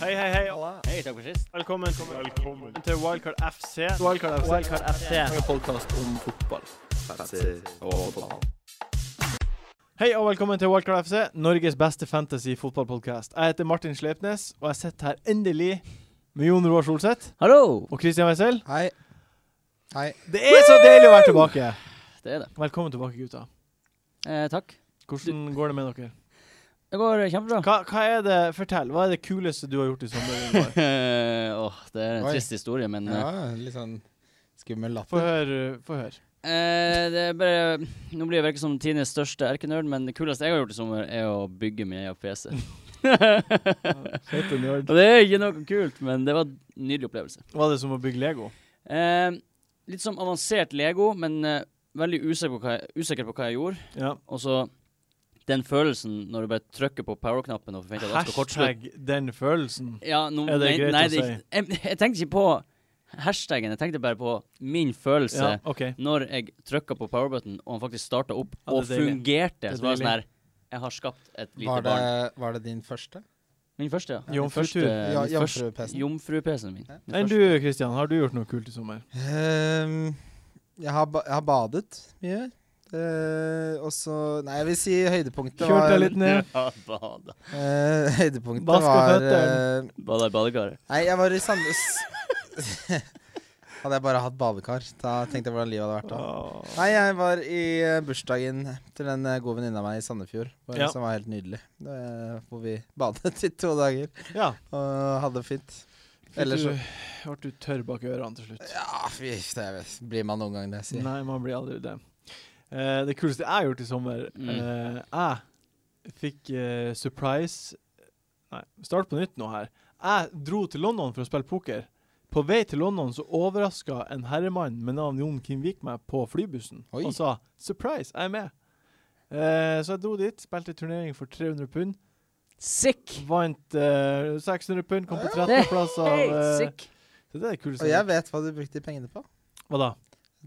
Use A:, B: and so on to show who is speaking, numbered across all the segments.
A: Hei, hei, hei.
B: Hei, takk for sist.
A: Velkommen, til Wildcard FC.
C: Wildcard FC.
B: Wildcard FC.
C: En podkast om fotball.
A: Hei og velkommen til Wildcard FC, Norges beste fantasy fotballpodkast. Jeg heter Martin Sleipnes, og jeg sitter her endelig med Jon Roar Solseth
B: Hallo!
A: og Christian Wessel.
C: Hei. Hei.
A: Det er så deilig å være tilbake.
B: Det er det.
A: Velkommen tilbake, gutta.
B: Eh, takk.
A: Hvordan går det med dere?
B: Det går kjempebra.
A: Hva, hva er det, Fortell, hva er det kuleste du har gjort i sommer? Jon Roar?
B: Eh, Åh, det er en
C: Oi.
B: trist historie, men eh,
C: Ja, litt sånn skummel
A: Få
C: latter.
A: høre. Få høre.
B: eh, det er bare Nå blir jeg virke som Tines største erkenerd, men det kuleste jeg har gjort i sommer, er å bygge min egen PC. og
A: Fete nerd.
B: det er ikke noe kult, men det var en nydelig opplevelse.
A: Var det som å bygge Lego?
B: Eh, litt sånn avansert Lego, men eh, veldig usikker på, hva jeg, usikker på hva jeg gjorde.
A: Ja.
B: Og så den følelsen når du bare trykker på power-knappen og forventer at alt skal kortslutte.
A: Hashtag 'den følelsen'.
B: Ja, nå,
A: Er det
B: men-
A: greit
B: nei,
A: å si?
B: det, Jeg, jeg tenkte ikke på hashtaggen, jeg tenkte bare på min følelse
A: Ja, OK.
B: når jeg trykka på powerbutton, og han faktisk starta opp
A: Ja, det er
B: og
A: deilig.
B: fungerte.
A: Det er
B: så var det
A: deilig.
B: sånn her Jeg har skapt et lite
C: Var det,
B: barn.
C: var det din første?
B: Min første, ja.
A: Jomfrutur.
C: Ja,
B: Min første-
C: jomfru-PC-en.
B: Jomfru-PC-en min.
C: Ja.
B: Min
A: Enn
B: første.
A: du, Christian, har du gjort noe kult i sommer?
C: Ehm, jeg, har ba jeg har badet mye. Eh, og så Nei, jeg vil si høydepunktet
A: Kjørt deg
C: var
A: litt ned?
B: Ja, bada.
C: eh, Høydepunktet
A: Vaska
C: var
A: føtteren.
C: eh,
B: Bada i badekaret.
C: Nei, jeg var i Sandnes. hadde jeg bare hatt badekar, da tenkte jeg hvordan livet hadde vært da.
A: Åh.
C: Nei, jeg var i eh, bursdagen til en eh, god venninne av meg i Sandefjord, hvor-
A: Ja.
C: som var helt nydelig. Eh, Hvor vi badet i to dager
A: Ja.
C: og hadde det fint.
A: Ellers
C: Ellers
A: så Ble
C: så-
A: du tørr bak ørene til slutt?
C: Ja, fy, det vet- blir man noen gang, det. sier jeg.
A: Nei, man blir aldri det. Eh, det kuleste jeg har gjort i sommer
B: Mm.
A: eh, Jeg fikk eh, surprise Nei, start på nytt nå her. Jeg dro til London for å spille poker. På vei til London så overraska en herremann med navn Jon Kimvik meg på flybussen
C: Oi.
A: og sa 'surprise, jeg er med'. Eh, så jeg dro dit, spilte turnering for 300 pund.
B: Sick!
A: Vant eh, 600 pund, kom på 13.
B: Det
A: plass av
B: Hey,
A: eh,
B: sick!
A: Så det er det kuleste.
C: Og jeg vet hva du brukte de pengene på.
A: Hva da?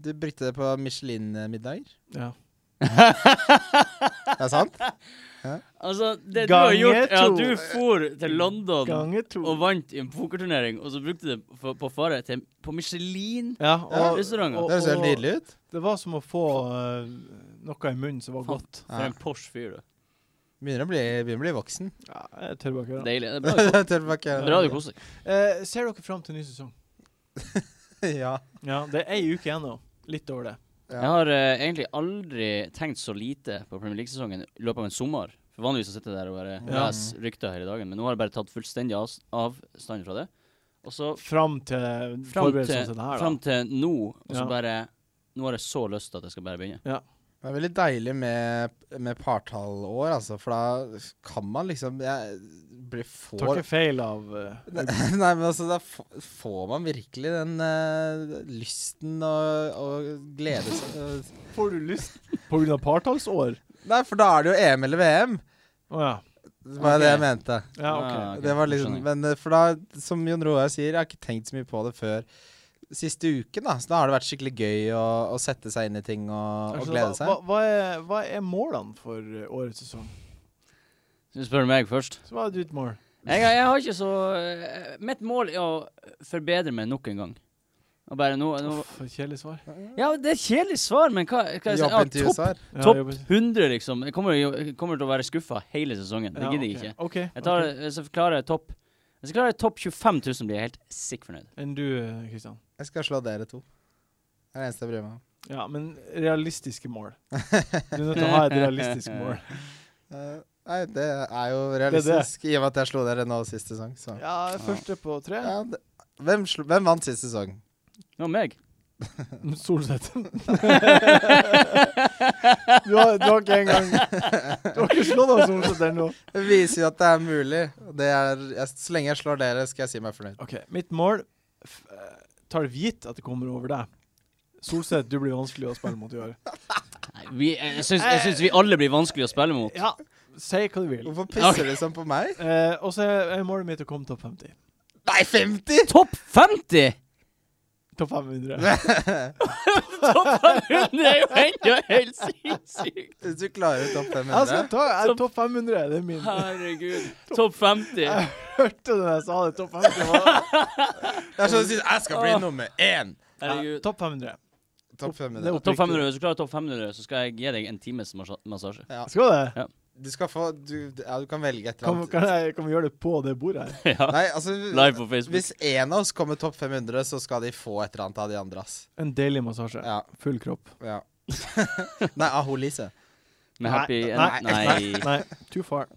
C: Du brukte det på Michelin-middager.
A: Ja.
C: Det er sant?
B: Altså, det du
A: Gange
B: har gjort, er
A: to.
B: at du for til London
A: Ganger to.
B: og vant i en pokerturnering, og så brukte du det på, på fare til På Michelin.
A: ja,
C: Ja,
B: restauranter.
C: Det høres helt nydelig ut.
A: Det var som å få eh, noe i munnen som var
B: Faen.
A: godt.
B: For
C: Ja.
B: en Porsche fyr, du.
C: Begynner å bli, begynner å bli voksen.
A: Ja, jeg tør bare ikke gjøre det.
B: Deilig. Det er bra du-
C: Tør du ikke-
B: bra du koser deg.
A: Eh, ser dere fram til ny sesong?
C: ja.
A: Ja, det er ei uke igjen nå. Litt over det.
C: Ja.
B: Jeg har eh, egentlig aldri tenkt så lite på Premier League-sesongen i løpet av en sommer. For Vanligvis så sitter jeg der og bare
A: Ja.
B: leser rykter hele dagen, men nå har jeg bare tatt fullstendig avs- avstand fra det. Og så
A: Fram til
B: fram
A: forberedelsene
B: til,
A: til det her,
B: fram
A: da.
B: til nå, og så
A: Ja.
B: bare Nå har jeg så lyst til at jeg skal bare begynne.
C: Det er veldig deilig med, med partallår, altså, for da kan man liksom Jeg blir
A: Tar
C: får
A: ikke feil av eh,
C: Nei, nei, men altså, da f- får man virkelig den eh, lysten og, og glede seg eh.
A: Får du lyst? På grunn av partallsår?
C: Nei, for da er det jo EM eller VM,
A: Å ja.
C: det var jo det jeg mente.
A: Ja,
B: Ah,
A: OK.
B: ok,
C: det var
B: nå
C: liksom,
B: skjønner jeg.
C: men eh, for da, som Jon Roar sier, jeg har ikke tenkt så mye på det før siste uken, da. Så da har det vært skikkelig gøy å, å sette seg inn i ting og, og
A: Altså,
C: glede
A: Hva,
C: seg.
A: hva, er, hva er målene for eh, årets sesong?
B: Så spør du meg først.
A: Så hva er ditt mål?
B: Jeg, jeg har ikke så eh, Mitt mål er å forbedre meg nok en gang. Og bare nå, nå
A: Uff, for et kjedelig svar.
B: Ja, det er et kjedelig svar, men hva, hva jeg sier?
A: Ah,
B: Ja,
C: Jobbintervju,
B: topp,
C: Sar.
A: Ja,
B: topp
A: jeg jobber-
B: 100, liksom. Jeg kommer, jo- jeg kommer til å være skuffa hele sesongen. Det
A: Ja,
B: gidder jeg
A: ok.
B: ikke.
A: OK.
B: Jeg tar,
A: ok.
B: Hvis jeg klarer topp Hvis jeg klarer topp 25 000, blir jeg helt sikk fornøyd.
A: Enn du, eh, Kristian?
C: Jeg skal slå dere to. Det er det eneste jeg bryr meg om.
A: Ja, men realistiske mål. Du er nødt til å ha et realistisk mål.
C: Eh, nei, det er jo
A: det.
C: realistisk, i og med at jeg slo dere nå sist sesong. Så.
A: Ja, første på tre.
C: Ja, det, hvem, slo, hvem vant sist sesong?
B: Det var meg.
A: Solseth. Du har, du har ikke engang Du har ikke slått av Solseth ennå.
C: Det viser jo at det er mulig. og Det er, jeg, så lenge jeg slår dere, skal jeg si meg fornøyd.
A: OK, mitt mål f eh, Tar det for gitt at det kommer over deg. Solseth, du blir vanskelig å spille mot i år.
B: Nei, vi, jeg syns, jeg syns vi alle blir vanskelig å spille mot.
A: Ja, si hva du vil.
C: Hvorfor pisser du sånn på meg?
A: Eh, og så er er målet mitt å komme topp 50.
C: Nei, 50!
B: Topp 50!
A: Topp 500.
B: Det er jo ennå helt sinnssykt!
C: Hvis du klarer topp
A: Jeg skal
C: 500
A: ta jeg er topp 500. Det er min.
B: Herregud. Topp 50.
A: Jeg hørte det da jeg sa det. Topp 500.
C: Det er sånn du sier 'jeg skal bli
B: Åh.
C: nummer én'.
A: Ja,
B: Herregud.
A: topp 500.
C: Topp
A: Det er
C: 500.
A: opp-
B: Topp 500. Hvis du klarer topp 500, så skal jeg gi deg en times massa- massasje.
C: Ja.
A: Skal det?
C: Du skal få du, Ja, du kan velge et eller
A: Kan,
C: annet.
A: kan, jeg, kan vi gjøre det på det bordet her?
B: Ja.
C: Nei, altså
B: Live på Facebook.
C: Hvis én av oss kommer topp 500, så skal de få et eller annet av de andre, ass.
A: En deilig massasje.
C: Ja,
A: Full kropp.
C: ja. Nei, av hun Lise.
B: Med happy
A: Nei,
B: end.
C: nei,
B: Nei.
A: Nei, too far.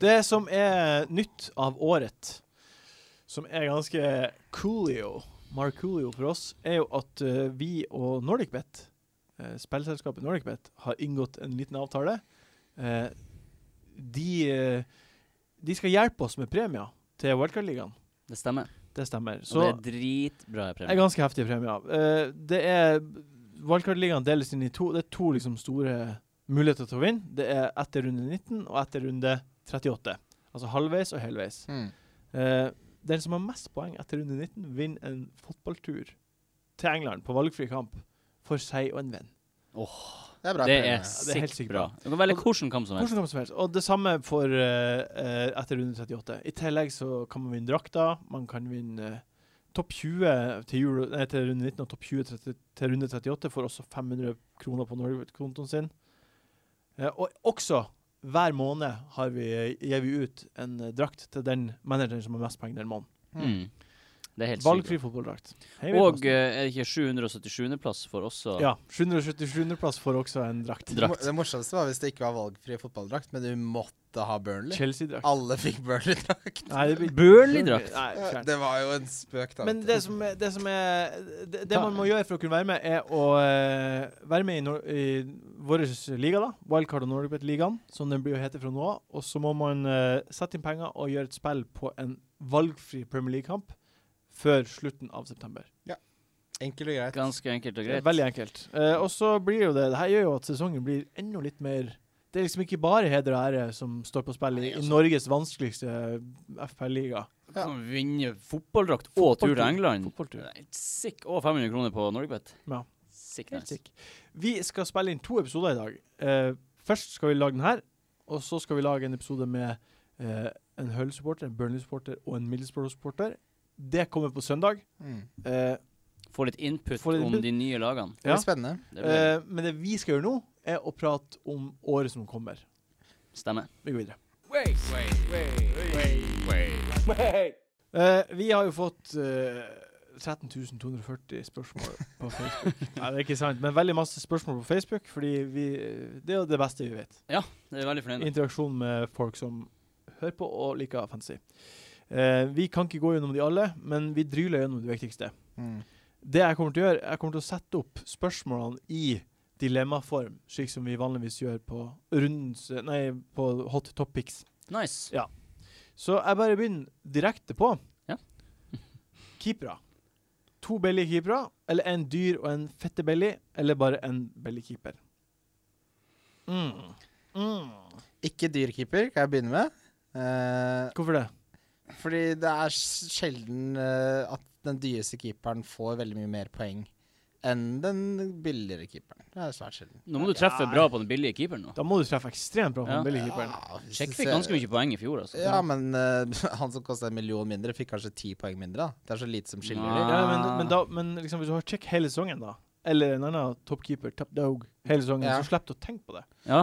A: Det som er nytt av året, som er ganske coolio, Marcoolio for oss, er jo at eh, vi og NordicBet, eh, spillselskapet NordicBet, har inngått en liten avtale. Eh, de, eh, de skal hjelpe oss med premier til Wildcard-ligaen.
B: Det stemmer.
A: Det stemmer.
B: Og det er dritbra
A: Det er
B: premie.
A: ganske heftige premier. Eh, det er Wildcard-ligaen deles inn i to. Det er to liksom store muligheter til å vinne. Det er etter runde 19 og etter runde 38. Altså halvveis og helveis.
C: Hmm.
A: Eh, den som har mest poeng etter runde 19, vinner en fotballtur til England på valgfri kamp for seg og en venn.
C: Det er bra.
B: Det
C: premie.
B: er
A: det er helt
B: sikt
A: sykt
B: bra.
A: bra.
B: Du kan velge hvilken kamp som helst.
A: Hvordan kamp som helst. Og det samme for eh, eh, etter runde 38. I tillegg så kan man vinne drakter. Man kan vinne eh, topp 20 til, euro, nei, til runde 19 og topp 20 til, til runde 38 får også 500 kroner på Norge-kontoen sin. Eh, og også hver måned har vi, gir vi ut en eh, drakt til den manageren som har mest penger den måneden.
C: Hmm.
B: Mm. Det er helt sykt.
A: Valgfri fotballdrakt. Hei,
B: bra.
A: vi
B: Og
A: passer.
B: eh, er det ikke 777. plass for også
A: ja, 777. plass får også en drakt.
B: Drakt.
C: Det morsomste var hvis det ikke var valgfri fotballdrakt, men du måtte ha Burnley.
A: Chelsea-drakt.
C: Alle fikk Burnley-drakt.
A: Nei, det blir-
B: Burnley-drakt?
A: Nei, fjern.
C: Det var jo en spøk, da.
A: Men det som, er- det som er det, det
B: Ta-
A: man må gjøre for å kunne være med, er å eh, være med i, nor i vår liga, da. Wildcard og Norwegian-ligaen, som den blir å hete fra nå av. Og så må man eh, sette inn penger og gjøre et spill på en valgfri Premier League-kamp før slutten av september.
C: Enkelt og greit.
B: Ganske enkelt
A: Det
B: og
A: er
B: greit.
A: Veldig enkelt. Eh, og så blir jo det Det her gjør jo at sesongen blir enda litt mer det er liksom ikke bare heder og ære som står på spill i,
C: Nei, altså.
A: i Norges vanskeligste FPL-liga.
B: Du kan vinne fotballdrakt og tur til
A: Fotballtur.
B: England.
A: Fotballtur.
B: Nei, Sick. Og 500 kroner på Norgebet.
A: Ja.
B: Sick
A: Helt
B: nice.
A: sick. Vi skal spille inn to episoder i dag. Eh, først skal vi lage den her, og så skal vi lage en episode med eh, en Hull-supporter, en Burnley-supporter og en Middlesbrough-supporter. Det kommer på søndag.
C: Mm.
A: Eh,
B: Få litt input
A: Få litt
B: om
A: input.
B: de nye lagene.
C: Det
A: Ja.
C: blir spennende.
B: Det blir
A: eh, men det vi skal gjøre nå, er å prate om året som kommer.
B: stemme.
A: Vi går videre.
D: Wait, wait, wait, wait, wait, wait.
A: Eh, vi har jo fått eh, 13.240 spørsmål på Facebook. Nei, det er ikke sant, men veldig masse spørsmål på Facebook, fordi vi, eh, det er jo det beste vi vet.
B: Det er veldig fornøyende.
A: interaksjon med folk som hører på og liker fantasy. Eh, vi kan ikke gå gjennom de alle, men vi dryler gjennom det viktigste.
C: Mm.
A: Det jeg kommer til å gjøre, jeg kommer til å sette opp spørsmålene i dilemmaform, slik som vi vanligvis gjør på rundens Nei, på hot topics.
B: Nice.
A: Så jeg bare begynner direkte på.
B: Ja.
A: Keepere. To billige keepere, eller en dyr og en fette belly, eller bare en billig keeper. Mm. Mm.
C: Ikke dyrekeeper, kan jeg begynne med. Eh,
A: Hvorfor det?
C: fordi det er s- sjelden eh, at den dyreste keeperen får veldig mye mer poeng enn den billigere keeperen. Det er svært sjelden.
B: Nå må du treffe bra på den billige keeperen nå.
A: Da må du treffe ekstremt bra på
B: Ja.
A: den billige keeperen.
C: Ja, hvis
B: Sjekk
C: du
B: fikk
C: ser-
B: ganske mye poeng i fjor, altså.
C: Ja, men eh, han som kosta en million mindre, fikk kanskje ti poeng mindre. da. Det er så lite som skiller
B: Nei.
C: dem.
A: Ja, men, men, da, men liksom, hvis du har check hele sesongen, da, eller en annen toppkeeper, top dog, hele sesongen,
C: Ja.
A: så slipper du å tenke på det.
B: Ja.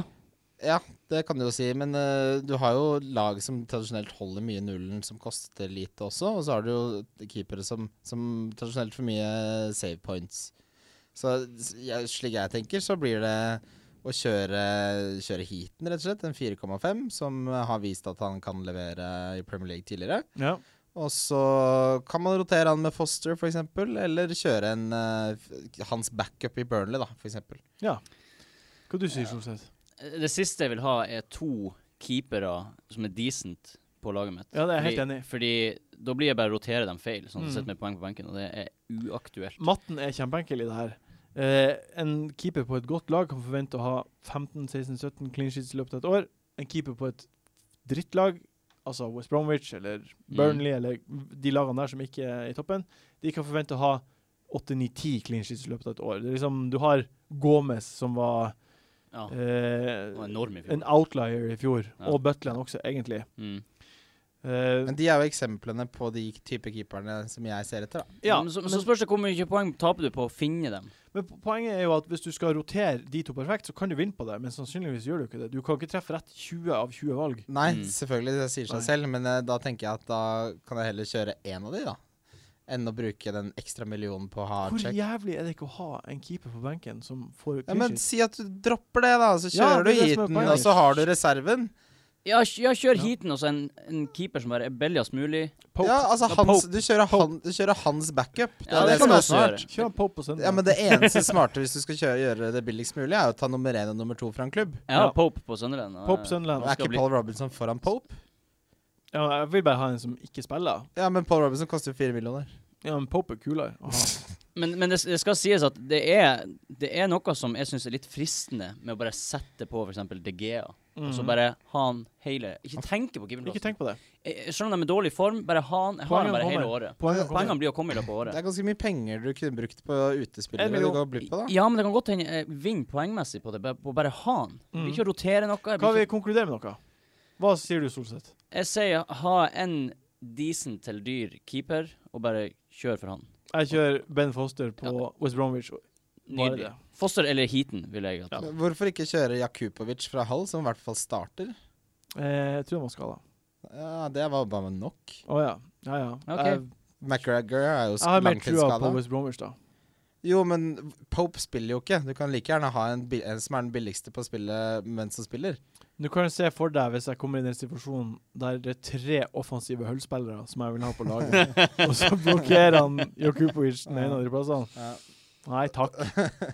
C: Ja, det kan du jo si, men eh, du har jo lag som tradisjonelt holder mye nullen, som koster lite også, og så har du jo keepere som, som tradisjonelt får mye eh, save points. Så s- jeg, slik jeg tenker, så blir det å kjøre, kjøre heaten, rett og slett, en 4,5, som har vist at han kan levere i Premier League tidligere.
A: Ja.
C: Og så kan man rotere han med Foster, f.eks., eller kjøre en, eh, f- hans backup i Burnley, da, f.eks.
A: Hva du sier du, Solseth?
B: Det siste jeg vil ha, er to keepere som er decent på laget mitt.
A: Ja, det er jeg helt
B: Fordi-
A: enig i.
B: Fordi da blir jeg bare å rotere dem feil, sånn at
A: Mm.
B: jeg sitter med poeng på benken, og det er uaktuelt.
A: Matten er kjempeenkel i det her. Eh, en keeper på et godt lag kan forvente å ha 15-16-17 clean sheets i løpet av et år. En keeper på et drittlag, altså West
B: Mm.
A: Bromwich eller Burnley eller de lagene der som ikke er i toppen, de kan forvente å ha 8-9-10 clean sheets i løpet av et år. Det er liksom, du har Gomez, som var
B: Ja, det
A: eh,
B: var enorm i
A: en
B: fjor.
A: outlier i fjor,
B: Ja.
A: og Butland også, egentlig.
B: Mm.
A: Eh,
C: Men de er jo eksemplene på de type keeperne som jeg ser etter, da.
A: ja,
B: men så,
A: men,
B: så spørs det hvor mye poeng taper du på å finne dem.
A: men po- poenget er jo at hvis du skal rotere de to perfekt, så kan du vinne på det, men sannsynligvis gjør du ikke det. Du kan ikke treffe rett 20 av 20 valg.
C: Nei,
B: Mm.
C: selvfølgelig, det sier seg
A: Nei.
C: selv, men eh, da tenker jeg at da kan jeg heller kjøre én av de, da. Enn å bruke den ekstra millionen
A: Hvor
C: på hardcheck.
A: jævlig er det ikke å ha en keeper på benken som får
C: Ja,
A: clean
C: men
A: sheets?
C: si at du dropper det, da. Så
A: Ja,
C: kjører
A: det er
C: du
A: det som er
C: heaten,
A: poenget.
C: og så har du reserven.
B: Ja, kj- ja kjør
A: Ja.
B: heaten og så en, en keeper som bare er billigst mulig.
A: Pope.
C: Ja, altså
A: Ja,
C: hans,
A: Pope.
C: du, kjører han, du kjører hans backup. Det
B: Ja,
C: er
B: det kan
C: det, som
B: du
C: er
B: også
C: smart.
B: gjøre.
A: Kjør en Pope på søndag.
C: Ja, men det eneste smarte hvis du skal kjøre, gjøre det billigst mulig, er jo å ta nummer én og nummer to fra en klubb.
B: Jeg har
A: Ja.
B: Pope på Sunderland. og-
A: Pope Sunderland.
C: Og er
B: skal
C: ikke
B: bli-
C: Paul Robinson foran Pope?
A: Ja, jeg vil bare ha en som ikke spiller.
C: Ja, men Paul Robinson koster jo fire millioner.
A: Ja, men Pope er kulere. å ha.
B: Men, men det, s- det skal sies at det er, det er noe som jeg syns er litt fristende med å bare sette på f.eks. DGA. Og så
A: Mhm.
B: bare ha han hele Ikke tenke på keeperplassen.
A: Ikke tenk på det.
B: Eh, Selv om de er i dårlig form, bare ha han, jeg har han
A: Poengene
B: bare hele
A: kommer.
B: året.
A: Poenget kommer.
B: Pengene blir å komme i løpet av
C: Det
B: året.
C: er ganske mye penger du kunne brukt på
A: En
C: utespillere du
A: million.
C: går glipp av, da.
B: Ja, men det kan godt hende jeg vinner poengmessig på det, bare- på bare ha han. Jeg Blir
A: Mhm.
B: ikke å rotere noe.
A: Kan
B: Jeg, blir
A: vi
B: ikke,
A: konkludere med noe? Hva sier du, Solseth?
B: jeg sier ha en decent til dyr keeper, og bare kjør for han.
A: Jeg kjører Ben Foster på West Bromwich. Bare
B: Nydelig.
A: det.
B: Foster eller Heaton, vil jeg at.
A: Ja.
C: Hvorfor ikke kjøre Jakubovic fra Hull, som i hvert fall starter?
A: Eh, jeg tror han var skada.
C: Ja, Det var bare nok.
A: Å ja. Ja ja.
B: Ok.
A: Jeg,
C: McGregor er jo
A: jeg har mer trua på
C: langtidsskada.
A: West Bromwich, da.
C: Jo, men Pope spiller jo ikke. Du kan like gjerne ha en, bi- en som er den billigste på å spille mens han spiller.
A: Du kan se for deg hvis jeg kommer i den situasjonen der det er tre offensive hullspillere som jeg vil ha på laget, og så blokkerer han Jakubovic den ene av de plassene.
C: Ja.
A: Nei takk.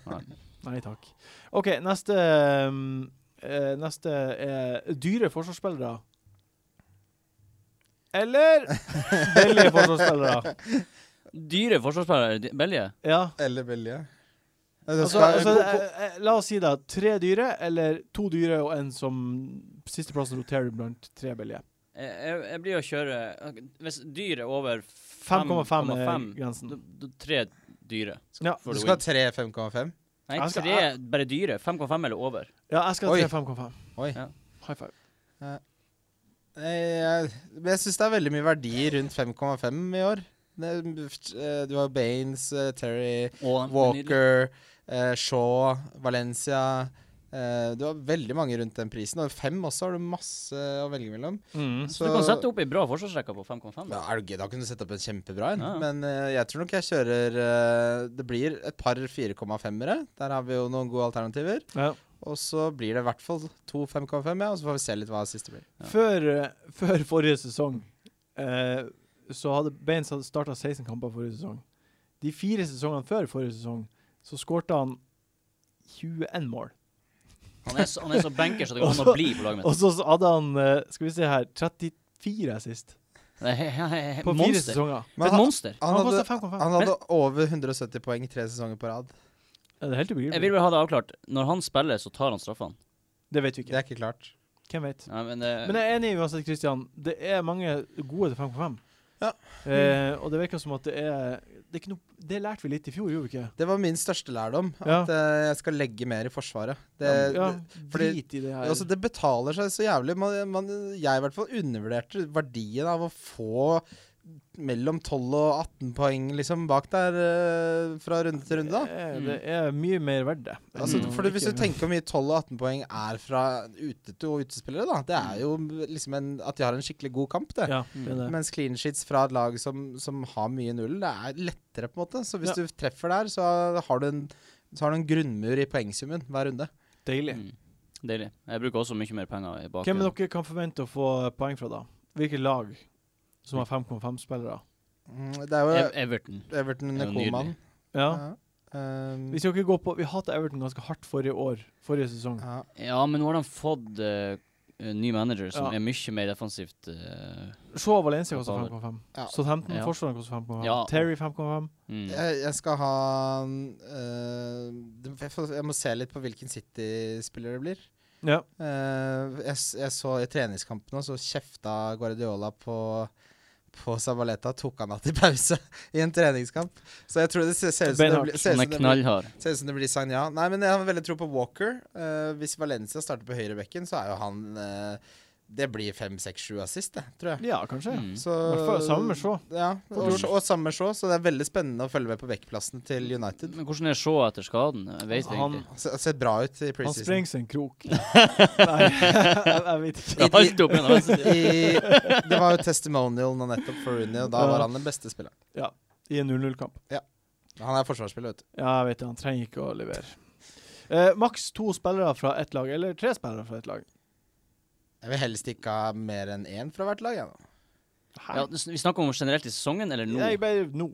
B: Nei.
A: Nei takk. OK, neste um, eh, Neste er dyre forsvarsspillere. Eller billige forsvarsspillere.
B: Dyre forsvarsspillere, de- Belje.
A: Ja.
C: Eller billige.
A: Altså, altså, eh, eh, la oss si da tre dyre, eller to dyre og en som sisteplassen roterer blant tre billige.
B: Jeg, jeg, jeg blir å kjøre Hvis dyr er over
A: 5,5 er
B: 5,5,
A: grensen.
B: da- da tre dyre.
A: eh, Ja,
B: får
C: du
B: du
C: skal ha tre 5,5?
B: Nei,
A: Jeg skal-
B: tre bare dyre. 5,5 eller over.
A: ja jeg skal
C: Oi.
A: ha tre 5,5.
C: Oi.
B: Ja.
A: High five.
C: Eh, Jeg, men jeg syns det er veldig mye verdi rundt 5,5 i år. Det- eh, Du har Baines, eh, Terry,
B: Og
C: Walker, eh, Shaw, Valencia eh, Du har veldig mange rundt den prisen. Og fem også har du masse å velge mellom.
A: Mm.
B: Så du kan sette opp ei bra forsvarsrekke på 5,5.
C: ja, er du gøy, Da kunne du sette opp en kjempebra en.
B: Ja, ja.
C: Men eh, jeg tror nok jeg kjører eh, Det blir et par 4,5-ere. Der har vi jo noen gode alternativer.
A: Ja.
C: Og så blir det i hvert fall to 5,5, ja, og så får vi se litt hva siste blir.
B: Ja.
A: Før, eh, før forrige sesong eh, så hadde Baines hadde starta 16 kamper forrige sesong. De fire sesongene før forrige sesong så skårte han 21 mål.
B: Han, er så- han er så banker så det går
A: Og
B: an
A: så-
B: å bli på laget
A: Og
B: mitt.
A: så så hadde han eh, skal vi se her 34 sist.
B: Det er he- he- he-
A: På fire
B: Monster.
A: sesonger.
B: For et monster.
C: han
A: Han
C: hadde,
A: kosta 5,5.
C: han hadde over 170 poeng tre sesonger på rad.
A: Ja, Det er helt
B: Jeg vil
A: ubegripelig.
B: bare ha det avklart. Når han spiller, så tar han straffene.
A: Det vet vi
C: Det
A: ikke.
C: er ikke klart.
A: Hvem vet?
B: Nei, men det,
A: Men jeg er enig uansett, Christian. Det er mange gode til 5,5.
C: Ja.
A: Eh, og det virker som at det er Det, er ikke noe, det lærte vi litt i fjor, gjorde vi ikke?
C: Det var min største lærdom,
A: Ja.
C: at eh, jeg skal legge mer i Forsvaret. Eh, Det,
A: Ja,
C: fordi-
A: drit i det
C: det,
A: her.
C: altså, det betaler seg så jævlig. Man, man, jeg i hvert fall undervurderte verdien av å få mellom 12 og 18 poeng liksom, bak der eh, fra runde til runde. da.
A: Det er, det er mye mer verdt det.
C: Altså,
B: Mm.
C: for Hvis du tenker hvor mye 12 og 18 poeng er fra ute og utespillere, da, det er jo liksom en, at de har en skikkelig god kamp. det.
A: ja, det, er det.
C: Mens clean sheets fra et lag som, som har mye null, det er lettere, på en måte. Så hvis
A: Ja.
C: du treffer der, så har, du en, så har du en grunnmur i poengsummen hver runde.
A: Deilig.
B: Mm. Deilig. Jeg bruker også mye mer penger i
A: Hvem
B: bakgrunnen.
A: dere kan forvente å få poeng fra, da? Hvilke lag som har 5,5 spillere?
C: Mm, Det er jo
B: Ev- Everton.
C: Everton
B: det er
C: under
B: jo
C: Koman.
B: nydelig.
A: Ja.
C: Um,
A: Vi skal ikke gå på Vi hatet Everton ganske hardt forrige år. Forrige sesong.
C: ja.
B: Ja, men nå har de fått eh, en ny manager som
A: Ja.
B: er mye mer defensivt. eh,
A: Se Valencia koster 5,5.
C: Ja.
A: Southampton
B: Ja.
A: forsvareren koster 5,5.
B: Ja.
A: Terry 5,5.
B: mm.
C: jeg, jeg skal ha uh, det- jeg, får, jeg må se litt på hvilken City-spiller det blir.
A: Ja.
C: Eh, jeg, s- jeg så i treningskampen også, så kjefta Guardiola på, på Sabaleta tok han av til pause i en treningskamp. Så jeg tror det ser ser ut som det
A: Beinhardt,
C: blir- ser ut
B: Han
C: som
B: er
C: det blir
B: knallhard.
C: Ser ut som det blir Sagna. Nei, men jeg har veldig tro på Walker. Eh, hvis Valencia starter på høyrebekken, så er jo han eh, Det blir fem, seks, sju assist, det, tror jeg.
A: Ja, kanskje.
B: Mm.
C: Så,
A: hvert fall sammen med Shaw.
C: Ja,
A: På
C: og,
A: George.
C: og sammen med Shaw, så det er veldig spennende å følge med på backplassen til United.
B: Men hvordan er Shaw etter skaden? Jeg vet ikke.
A: Han-
B: Han,
C: Han Ser ser bra ut i
A: Han
C: preseason.
A: sprenger seg en krok. Nei, jeg, jeg vet ikke.
B: det er alt opp igjen. altså.
C: I, det var jo testimonial nå nettopp for Rooney, og da var han den beste spilleren.
A: I en 0-0-kamp.
C: Han er forsvarsspiller, vet du.
A: Ja, jeg vet det. Han trenger ikke å levere. Eh, maks to spillere fra ett lag, eller tre spillere fra ett lag.
C: Jeg vil helst ikke ha mer enn én fra hvert lag. Jeg, nå.
B: Ja, det- vi snakker om generelt i sesongen, eller nå?
A: Nei, bare nå.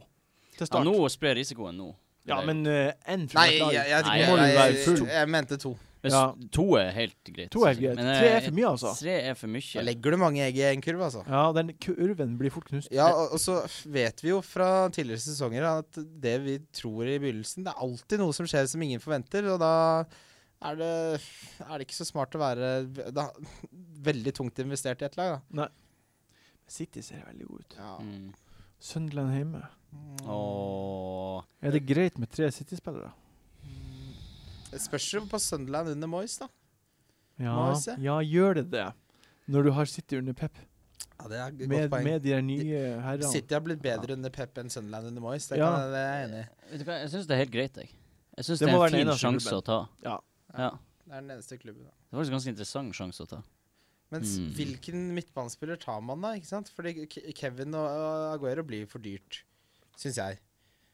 A: Til
B: Ja,
A: start.
B: nå sprer risikoen nå.
A: Ja, men én fra
C: Nei,
A: hvert
C: jeg,
A: lag.
C: jeg, jeg,
B: Nei,
C: jeg,
B: må du
C: jeg,
A: være
C: jeg,
A: full.
C: mente to.
B: Hvis
A: Ja.
B: To er helt greit.
A: To er
B: synes jeg.
A: greit.
B: Men, eh,
A: Tre er for mye, altså.
B: Tre er for mye.
C: Da legger du mange egg i en kurv, altså.
A: Ja, den kurven blir fort knust.
C: Ja, og, og så vet vi jo fra tidligere sesonger at det vi tror i begynnelsen Det er alltid noe som skjer som ingen forventer, og da er det, er det ikke så smart å være da, veldig tungt investert i ett lag, da.
A: City ser veldig god ut.
B: Mm.
A: Sunderland hjemme.
B: Åh.
A: Er det greit med tre City-spillere?
C: Det spørs jo på Sunderland under Moyes, da.
A: Ja.
C: Må vi se.
A: ja, gjør det det? Når du har City under pep,
C: Ja, det er et godt
A: med,
C: poeng.
A: med de der nye herrene.
C: City har blitt bedre under Pep enn Sunderland under Moyes, det,
A: Ja.
C: kan, jeg- det er jeg enig i.
B: Vet du hva, jeg syns det er helt greit, jeg. Jeg
A: Det
B: syns det,
A: må
B: er
A: være
B: en
A: den
B: fin
A: eneste
B: sjanse
A: klubben.
B: å ta.
A: Ja.
B: ja.
C: Det er den eneste klubben. Da.
B: Det var en ganske interessant sjanse å ta.
C: Men s-
B: Mm.
C: hvilken midtbanespiller tar man, da? ikke sant? Fordi Ke- Kevin og og Aguero blir for dyrt, syns jeg.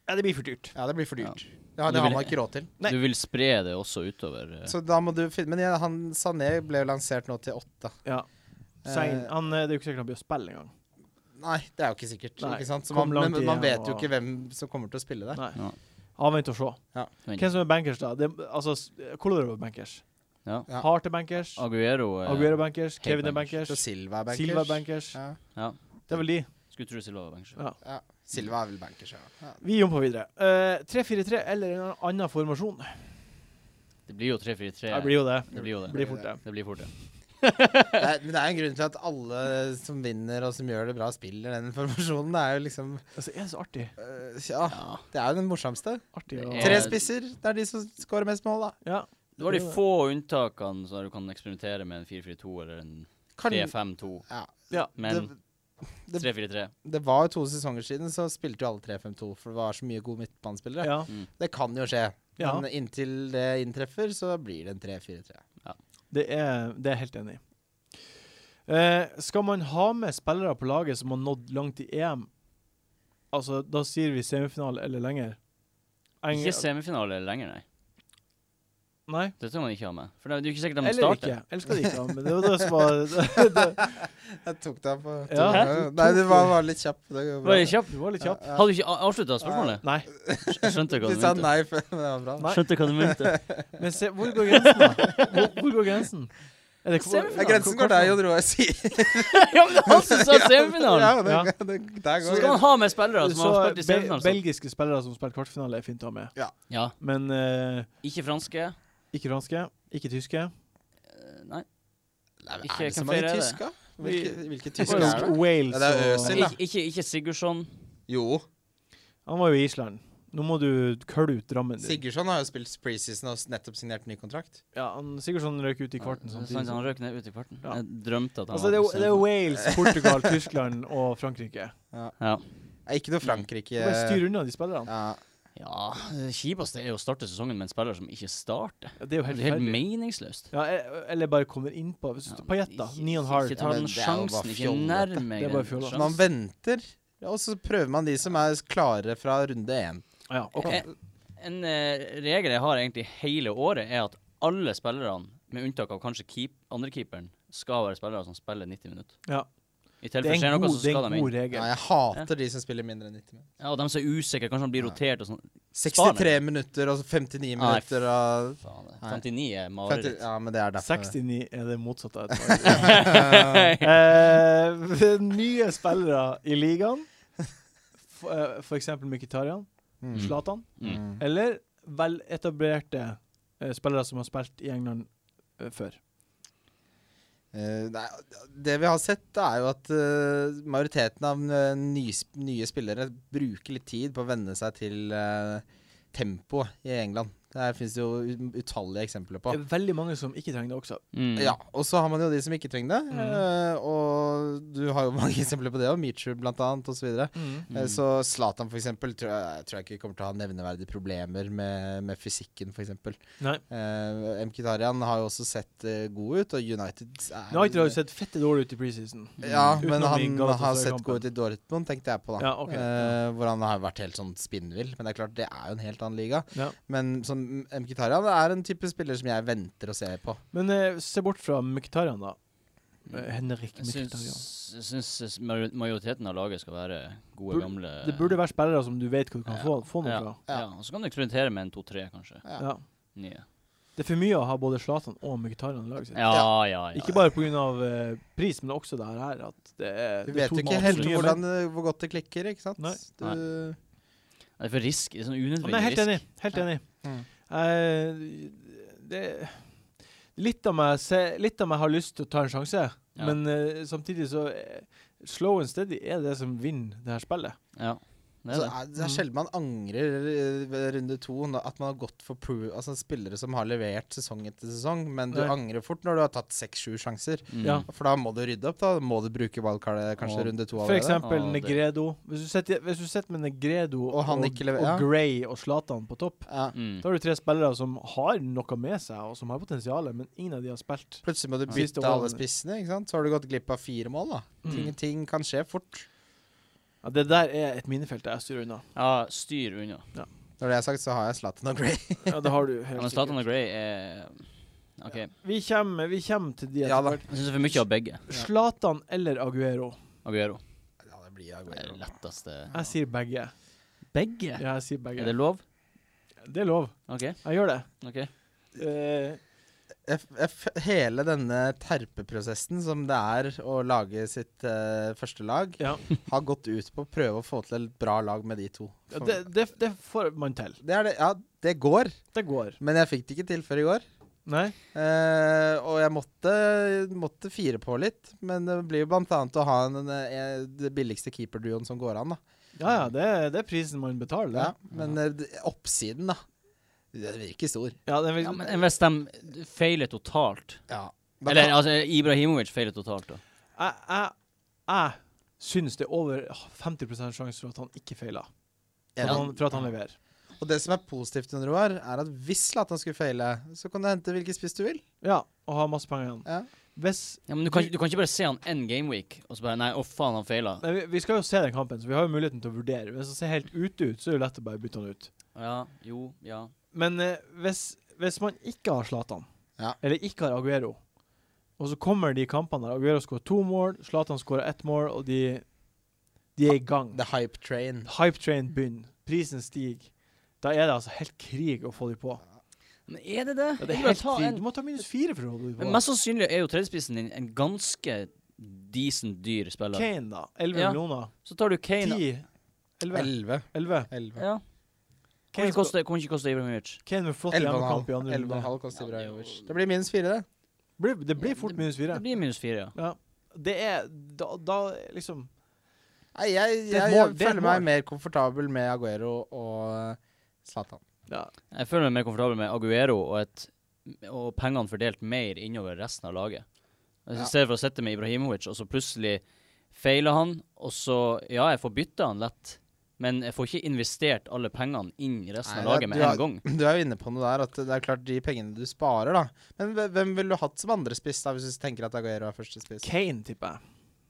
A: Ja, det blir for dyrt.
C: Ja, det blir for
B: Ja.
C: dyrt. Ja,
B: Du
C: det har
B: vil-
C: man ikke råd til.
A: Nei.
B: Du vil spre det også utover. eh.
C: Så da må du finne Men ja, han Sané ble jo lansert nå til åtte.
A: Ja. Sein,
C: Eh,
A: han, eh, det er jo ikke sikkert han blir å spille engang.
C: Nei, det er jo ikke sikkert.
A: Nei,
C: Ikke sant? Så
A: kom
C: man,
A: langt
C: men man
A: igjen,
C: vet jo
A: og-
C: ikke hvem som kommer til å spille der.
A: Nei.
B: Ja.
A: Avvent og se.
C: Ja.
A: Hvem som er bankers, da? Det, altså, s- Kolarov er bankers.
B: Ja.
C: Ja.
A: Hart er bankers.
B: Aguero, eh,
A: Aguero er bankers.
B: helt
A: Kevin er bankers.
B: bankers.
C: Så Silva er bankers.
A: Silva er bankers.
C: Ja.
B: Ja.
A: Det er vel de.
B: Skulle tro Silva var bankers.
A: Ja.
C: ja. Silva er vel bankers, ja. ja.
A: Vi jumper videre. Eh, 3-4-3 eller en annen formasjon.
B: Det blir jo 3-4-3.
A: Det blir jo det.
B: Det blir jo det.
A: Det blir fort det.
B: Det blir fort det.
C: Det er, men det er en grunn til at alle som vinner og som gjør det bra, spiller den formasjonen. Det er jo liksom
A: Altså, er det så artig?
C: øh, Ja,
B: Ja.
C: det er jo den morsomste.
A: Artig
B: Det
A: å
B: er-
C: Tre spisser, det er de som scorer mest mål, da.
A: Ja.
B: Det var de
A: blir det.
B: få unntakene så du kan eksperimentere med en 4-4-2 eller en
C: Kan-
B: 3-5-2.
C: ja,
A: Ja,
B: Men
C: det-
B: 3-4-3
C: det var jo to sesonger siden, så spilte jo alle 3-5-2, for det var så mye gode midtbanespillere.
A: Ja.
C: Det kan jo skje.
A: ja.
C: Men inntil det inntreffer, så blir det en 3-4-3.
A: Det er, det er jeg helt enig i. Eh, skal man ha med spillere på laget som har nådd langt i EM, altså da sier vi semifinale eller lenger Eng-
B: Ikke semifinale lenger, nei.
A: Nei.
B: Det skal man ikke ha med. For det er jo ikke sikkert de
A: Eller
B: starter.
A: ikke. Eller skal de ikke ha med? Det var det som var det, det,
C: Jeg tok deg på
A: Ja. Hæ?
C: Nei, du var, var litt kjapp. Det går bra.
B: Var jeg kjapp?
A: Du var litt kjapp.
C: Ja.
B: Hadde du ikke avslutta spørsmålet?
A: Nei.
B: Skjønte hva
C: Du
B: du
C: sa
B: mente.
C: nei, før, men det var bra.
A: Nei.
B: Skjønte hva du mente.
A: Men se, hvor går grensen, da? Hvor, hvor går grensen? Er det
B: Semifinale.
C: Ja, grensen går der, Jon Roar sier.
B: ja, men det var han som sa semifinalen!
C: Ja, det,
A: Ja.
C: det, der
B: Så skal
C: går
B: han
C: grensen.
B: ha med spillere som
A: Så
B: har spilt i
A: be
B: semifinalen. så-
A: belgiske spillere som spiller kvartfinale, er fint å ha med.
B: Ja.
A: Men eh,
B: Ikke franske.
A: ikke franske, ikke tyske.
B: Eh, Nei.
C: Nei, men
B: Ikke-
C: Er det så
B: hvem
C: mange
B: flere er det?
C: tyske? Hvilke, hvilke
A: Og
C: tyskere er det?
A: Wales
C: Ja, det er
A: og-
C: Øsil, da.
B: Ikke, ikke, ikke Sigurdsson.
C: Jo,
A: Han var jo i Island. Nå må du kølle ut Drammen din.
C: Sigurdsson har jo spilt preseason og nettopp signert ny kontrakt.
A: Ja, han, Sigurdsson røk ut i kvarten
B: Ja, det er
A: samtidig.
B: sant, Han røk ned ut i kvarten.
A: Ja.
B: Jeg drømte at han
A: Altså, det er,
B: var
A: jo- det er Wales, Portugal, Tyskland og Frankrike.
B: Ja.
C: Er ikke noe
A: Du
C: Frankrike
A: bare styr unna de spillerne.
C: ja.
B: ja, det kjipeste er jo å starte sesongen med en spiller som ikke starter.
A: Ja, Det er jo
B: Det
A: helt
B: er helt
A: ferdig.
B: meningsløst.
A: Ja, e- eller bare kommer innpå. Hvis du- Payet, da.
B: Ikke-
A: Ni and half.
B: Ikke
C: Ja,
B: ta
C: men
B: den
C: det er jo bare
B: sjansen. Ikke
C: fjollete.
B: nærme
A: Det er bare fjollete.
C: Man
B: sjansen.
C: venter, og så prøver man de som er klare fra runde én.
A: Ja, ok.
B: En, en eh, regel jeg har egentlig hele året, er at alle spillerne, med unntak av kanskje keep, andrekeeperen, skal være spillere som spiller 90 minutter.
A: Ja.
B: I
A: Det
B: tilfelle
A: er
B: skjer
A: en
B: noe,
A: god,
B: så
A: det er
B: skal de
A: en god
B: inn.
A: regel.
C: Ja, jeg hater de som spiller mindre enn 90 minutter.
B: Ja, og de som er usikre, kanskje de blir rotert og sånn. Spar
C: 63 minutter og så 59 minutter og
B: Faen, det- 59
C: Nei.
B: er
C: 50,
B: mareritt.
C: Ja, men det er derfor.
A: 69 er det motsatte. av et par. eh, nye spillere i ligaen, f- eh, for eksempel Mkhitaryan,
C: Mm.
A: Zlatan,
B: Mm.
C: Mm.
A: eller veletablerte eh, spillere som har spilt i England eh, før.
C: Eh, nei, det vi har sett, det er jo at eh, majoriteten av eh, nye, sp- nye spillere bruker litt tid på å venne seg til eh, tempo i England. Der fins det jo ut- utallige eksempler på.
A: Det er veldig mange som ikke trenger det også.
B: Mm.
C: Ja, og så har man jo de som ikke trenger det.
A: Mm.
C: eh, og du har jo mange eksempler på det, og Meacher blant annet, osv. videre
A: Mm.
C: Eh,
B: Mm.
C: Så Zlatan for eksempel, tror jeg, tror jeg ikke kommer til å ha nevneverdige problemer med, med fysikken, for eksempel.
A: Nei.
C: Eh, MK Tarian har jo også sett eh, god ut, og United er
A: United har jo sett fette dårlig ut i preseason.
C: Ja,
A: Mm.
C: men
A: Utenom i
C: han har
A: Galatasaray-kampen.
C: sett god ut i Dortmund, tenkte jeg på da.
A: Ja, ok.
C: Eh, hvor han har vært helt sånn spinnvill. Men det er klart, det er jo en helt annen liga.
A: Ja.
C: Men sånn, MK Tarian er en type spiller som jeg venter å se på.
A: Men eh, se bort fra Mkhitaryan, da.
C: Mm.
A: Eh, Henrik
B: Mm. Jeg
A: Mkhitaryan.
B: syns- jeg syns major- majoriteten av laget skal være gode,
A: Bur-
B: gamle
A: Det burde være spillere som du vet hvor du kan
C: Ja.
A: få, få noe
B: eh, ja,
A: fra.
B: ja. og Så kan du eksperimentere med en to-tre, kanskje.
C: Ja.
A: Ja.
B: Nye.
A: Det er for mye å ha både Zlatan og Mkhitaryan i laget sitt.
B: Ja, ja, ja.
A: Ikke bare pga. Uh, pris, men også det her at det er
C: Du
A: det er
C: vet
A: to
C: jo ikke
A: masse
C: helt
A: nye menn.
C: hvordan, hvor godt det klikker, ikke sant?
A: Nei.
C: Du,
B: Det er for risk. Det er
A: Ja,
B: sånn
A: Men jeg er
B: unødvendig
A: helt enig.
B: risk.
A: Helt
B: Ja.
A: enig.
C: Mm.
A: Eh, det litt av, meg, se- litt av meg har lyst til å ta en sjanse,
B: Ja.
A: men eh, samtidig så eh, Slow and steady er det som vinner det her spillet.
B: Ja. Det er
C: Så
B: det.
C: er,
A: Mm.
C: det er sjelden man angrer eh, ved runde to nå, at man har gått for pro, altså spillere som har levert sesong etter sesong, men du
A: Nei.
C: angrer fort når du har tatt seks-sju sjanser.
B: Mm.
A: Ja.
C: For da må du rydde opp, da må du bruke wildcardet kanskje
B: Og-
C: runde to
A: For
C: allerede.
A: eksempel
B: Ja, det-
A: Negredo. Hvis du setter, hvis du setter med Negredo og,
C: Og han ikke lever- ja.
A: og Gray og Zlatan på topp,
C: Ja.
B: Mm.
A: da har du tre spillere som har noe med seg, og som har potensial, men ingen av de har spilt.
C: Plutselig må du
B: Ja.
A: Siste
C: bytte alle
A: målene.
C: spissene, ikke sant? så har du gått glipp av fire mål. da. Ting,
A: Mm.
C: ting kan skje fort.
A: Ja, det der er et minefelt jeg styrer unna.
B: ja, styr unna.
C: Når det er sagt, så har jeg Zlatan og Gray.
A: Ja, det har du
B: Ja,
A: helt
B: men Zlatan
A: sikkert.
B: og Gray er eh, OK.
A: Vi kommer, vi kommer til de etter
C: Ja da.
A: hvert.
B: Jeg syns det er for mye av begge.
A: Zlatan eller Aguero?
B: Aguero.
C: Ja, det blir
B: Det er det
C: Aguero.
B: letteste
A: Jeg sier begge.
B: Begge?
A: Ja, jeg sier begge.
B: Er det lov?
A: Det er lov.
B: OK.
A: Jeg gjør det.
B: ok
A: Eh,
C: Jeg, f- jeg, f- hele denne terpeprosessen som det er å lage sitt eh, første lag,
A: ja.
C: har gått ut på å prøve å få til et bra lag med de to.
A: Ja,
C: For-
A: Det, det, det får man til.
C: det er det, ja, det går,
A: Det går.
C: men jeg fikk det ikke til før i går.
A: Nei?
C: Eh, og jeg måtte, måtte fire på litt, men det blir jo blant annet å ha en, en, en, det billigste keeperduoen som går an, da.
A: Ja ja, det, det er prisen man betaler.
C: Ja,
A: det.
C: men eh, d- oppsiden, da. Den virker stor.
A: Ja, det er,
B: Ja, men hvis de feiler totalt
C: Ja. Da
B: Eller
C: kan-
B: altså, Ibrahimovic feiler totalt, da.
A: jeg, jeg, jeg syns det er over 50 sjanse for at han ikke feiler. For, at
C: Ja.
A: han, for at han leverer.
C: Og det som er positivt, under Roar, er at hvis Zlatan skulle feile, så kan du hente hvilken spiss du vil.
A: Ja, og har masse penger igjen.
C: Ja.
A: Hvis
B: Ja, men du kan, ikke- du kan ikke bare se han én gameweek, og så bare Nei, å faen, han feila.
A: Nei, vi, vi skal jo se den kampen, så vi har jo muligheten til å vurdere. Hvis han ser helt ute ut, så er det jo lett å bare bytte han ut.
B: Ja, jo, ja.
A: Men eh, hvis, hvis man ikke har Zlatan,
C: Ja.
A: eller ikke har Aguero, og så kommer de kampene der Aguero skårer to mål, Zlatan skårer ett mål, og de, de er i gang.
C: The hype train.
A: Hype train begynner, prisen stiger. Da er det altså helt krig å få de på.
B: Men er det det?
A: Ja, det er
B: Ikke bare
A: helt
B: ta
A: krig. Du
B: en.
A: må ta minus fire for å holde de
B: Men
A: på.
B: mest sannsynlig er jo tredjespissen din en ganske decent dyr spiller.
A: Kane, da. 11
B: Ja.
A: millioner.
B: Så tar du Kane
A: 10. 11.
C: Elleve.
A: 11.
C: Elleve.
B: Ja. Kan
A: Kane,
B: ikke
A: skal,
B: koste, kan ikke koste Ibrahimovic.
A: Kane med flott
C: Elleve og en halv.
A: hjemmekamp i andre
C: Elleve og en
A: runde.
C: halv koster
B: Ja, det er jo-
C: Ibrahimovic. Det blir minus fire, det.
A: Blir- Det blir fort minus fire.
B: Det blir minus fire, ja.
A: Ja. Det er da, da liksom
C: Nei, jeg, jeg,
A: Det er et
C: jeg,
A: mål, det er et
C: føler meg
A: mål.
C: mer komfortabel med Aguero og eh, Zlatan.
A: ja.
B: Jeg føler meg mer komfortabel med Aguero og, et, og pengene fordelt mer innover resten av laget. Altså,
C: Ja.
B: I stedet for å sitte med Ibrahimovic, og så plutselig feiler han, og så Ja, jeg får bytta han lett, men jeg får ikke investert alle pengene inn i resten
C: Nei,
B: av
C: det-
B: laget med
C: du
B: en
C: har-
B: gang.
C: Du er jo inne på noe der, at det er klart de pengene du sparer, da. Men hve- hvem ville du hatt som andre spiss, da, hvis du tenker at Aguero er første spiss?
A: Kane, tipper jeg.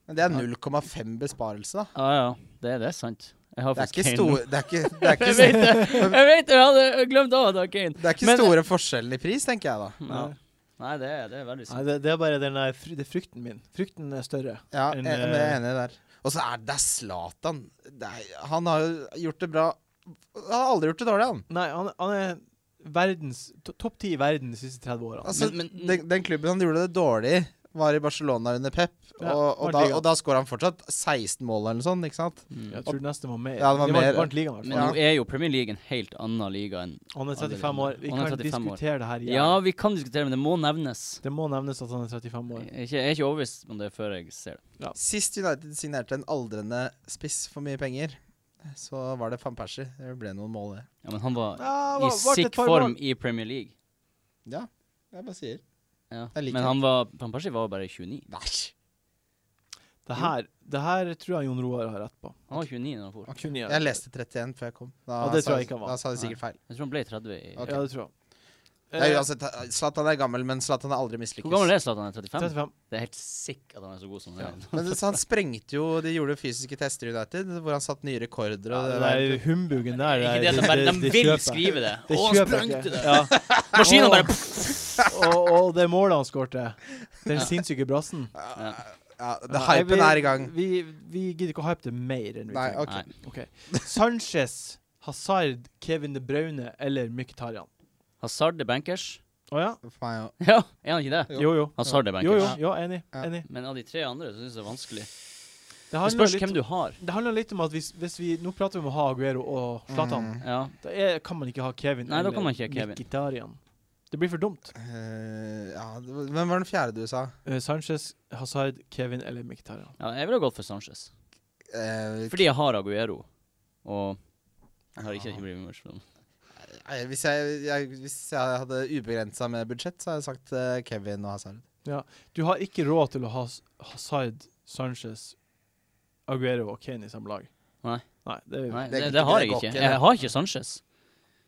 C: Men det er 0,5 besparelse, da.
B: Ja, ja. Det, det er sant. Jeg har
C: Det er
B: faktisk
C: ikke
B: Kane.
C: store Det er ikke, det er
B: Jeg
C: ikke,
B: vet det! Jeg vet det! Jeg hadde glemt av at det var Kane.
C: det er ikke
B: Men-
C: store forskjellen i pris, tenker jeg da.
B: Ja. Nei, det, er- det er veldig
A: Nei,
B: sant.
A: det, det er bare den der fry, det er frykten min. Frykten er større.
C: Ja, jeg,
A: En,
C: men jeg er enig der. Og så er det det er Zlatan. Det er- Han har jo gjort det bra Han har aldri gjort det dårlig, han.
A: Nei, han, han er verdens to- topp ti i verden de siste 30 årene.
C: Altså,
B: Men- men-
C: den, den klubben han gjorde det dårlig i, var i Barcelona under Pep,
A: Ja,
C: og, og,
A: vant
C: da,
A: ligaen.
C: og da skårer han fortsatt 16 mål eller noe sånt, ikke sant?
A: Jeg tror det neste var mer.
C: Ja, det var
A: de vant-
C: mer.
A: vant ligaen, i hvert
B: Mm. Men
A: fall.
B: nå er jo Premier League en helt annen liga enn
A: Han er 35 år. Vi
B: Han er
A: kan
B: 35 år.
A: diskutere det her igjen.
B: Ja, vi kan diskutere, men det må nevnes.
A: Det må nevnes at han er 35 år.
B: Jeg er ikke, jeg er ikke overbevist om det før jeg ser det.
C: Sist United signerte en aldrende spiss for mye penger, så var det van Persie. Det ble noen mål, det.
B: Ja, Men han var
A: Ja,
B: i
A: var- vart et
B: sick
A: par
B: form
A: mål.
B: i Premier League.
C: Ja, jeg bare sier.
B: Ja.
C: Jeg liker
B: Men
C: det.
B: han var Van Persie var bare 29.
C: Nei!
A: Det her, det her tror jeg Jon Roar har rett på.
B: Han var 29 når han for.
C: Jeg leste 31 før jeg kom. Da,
A: Ja, det
C: sa
A: tror
C: jeg-
A: jeg ikke han var.
C: Da sa de sikkert feil.
B: Jeg tror han ble 30 i
C: Ok.
A: Ja, det tror jeg. Eh.
C: Det er
B: altså
C: uansett, Zlatan er gammel, men Zlatan har aldri mislykkes.
B: Hvor gammel er Zlatan? Er han? 35?
A: 35.
B: Det er helt sikkert at han er så god som han er.
C: Men det- så han sprengte jo De gjorde fysiske tester i United, hvor han satte nye rekorder.
A: Ja,
C: Og
A: det
C: det var
A: er humbugen der.
B: Ikke det at de bare de vil skrive det.
A: Det
B: Å, han
A: kjøper jeg
B: sprengte
A: ikke.
B: det!
A: Ja.
B: Maskinen bare
A: Og, og det målet han skårte. Den sinnssyke brassen.
B: ja.
C: ja, det
A: Nei,
C: Hypen
A: vi-
C: er i gang.
A: Vi, vi gidder ikke å hype det mer enn vi
C: Nei,
A: trenger.
C: ok.
B: Nei.
A: Ok. Sanchez, Hazard, Kevin De Braune eller Mykhitaryan?
B: Hazard er bankers.
A: Å ja?
C: For meg òg.
B: Ja, er han ikke det?
A: Jo, jo.
B: Hazard er
A: Jo, jo.
B: bankers.
A: Ja, enig.
C: Ja.
A: enig.
B: Men av de tre andre så syns jeg det er vanskelig.
A: Det
B: Det
A: handler
B: spørs
A: litt
B: hvem du har.
A: Det handler litt om at hvis, hvis vi Nå prater vi om å ha Aguero og Zlatan.
C: Mm.
B: Ja.
A: Da er, kan man ikke ha Kevin
B: Nei, da kan man ikke ha Kevin.
A: Mkhitaryan. Det blir for dumt.
C: Eh, ja, det var- hvem var den fjerde du sa?
A: Eh, Sanchez, Hazard, Kevin eller Mkhitaryan.
B: ja, jeg ville ha gått for Sanchez.
C: Eh,
B: Fordi jeg har Aguero. Og jeg har ikke Kimberley Murch.
C: nei, hvis, jeg, jeg, hvis jeg hadde ubegrensa med budsjett, så hadde jeg sagt eh, Kevin og Hazard.
A: Du har ikke råd til å ha S- Hazard, Sanchez, Aguero og Kane i samme lag.
B: Nei.
A: Nei, det,
B: Nei,
C: Det er
B: det,
C: ikke-
B: det har
C: det
B: jeg
C: går
B: ikke.
C: ikke, det.
B: Jeg har ikke Sanchez.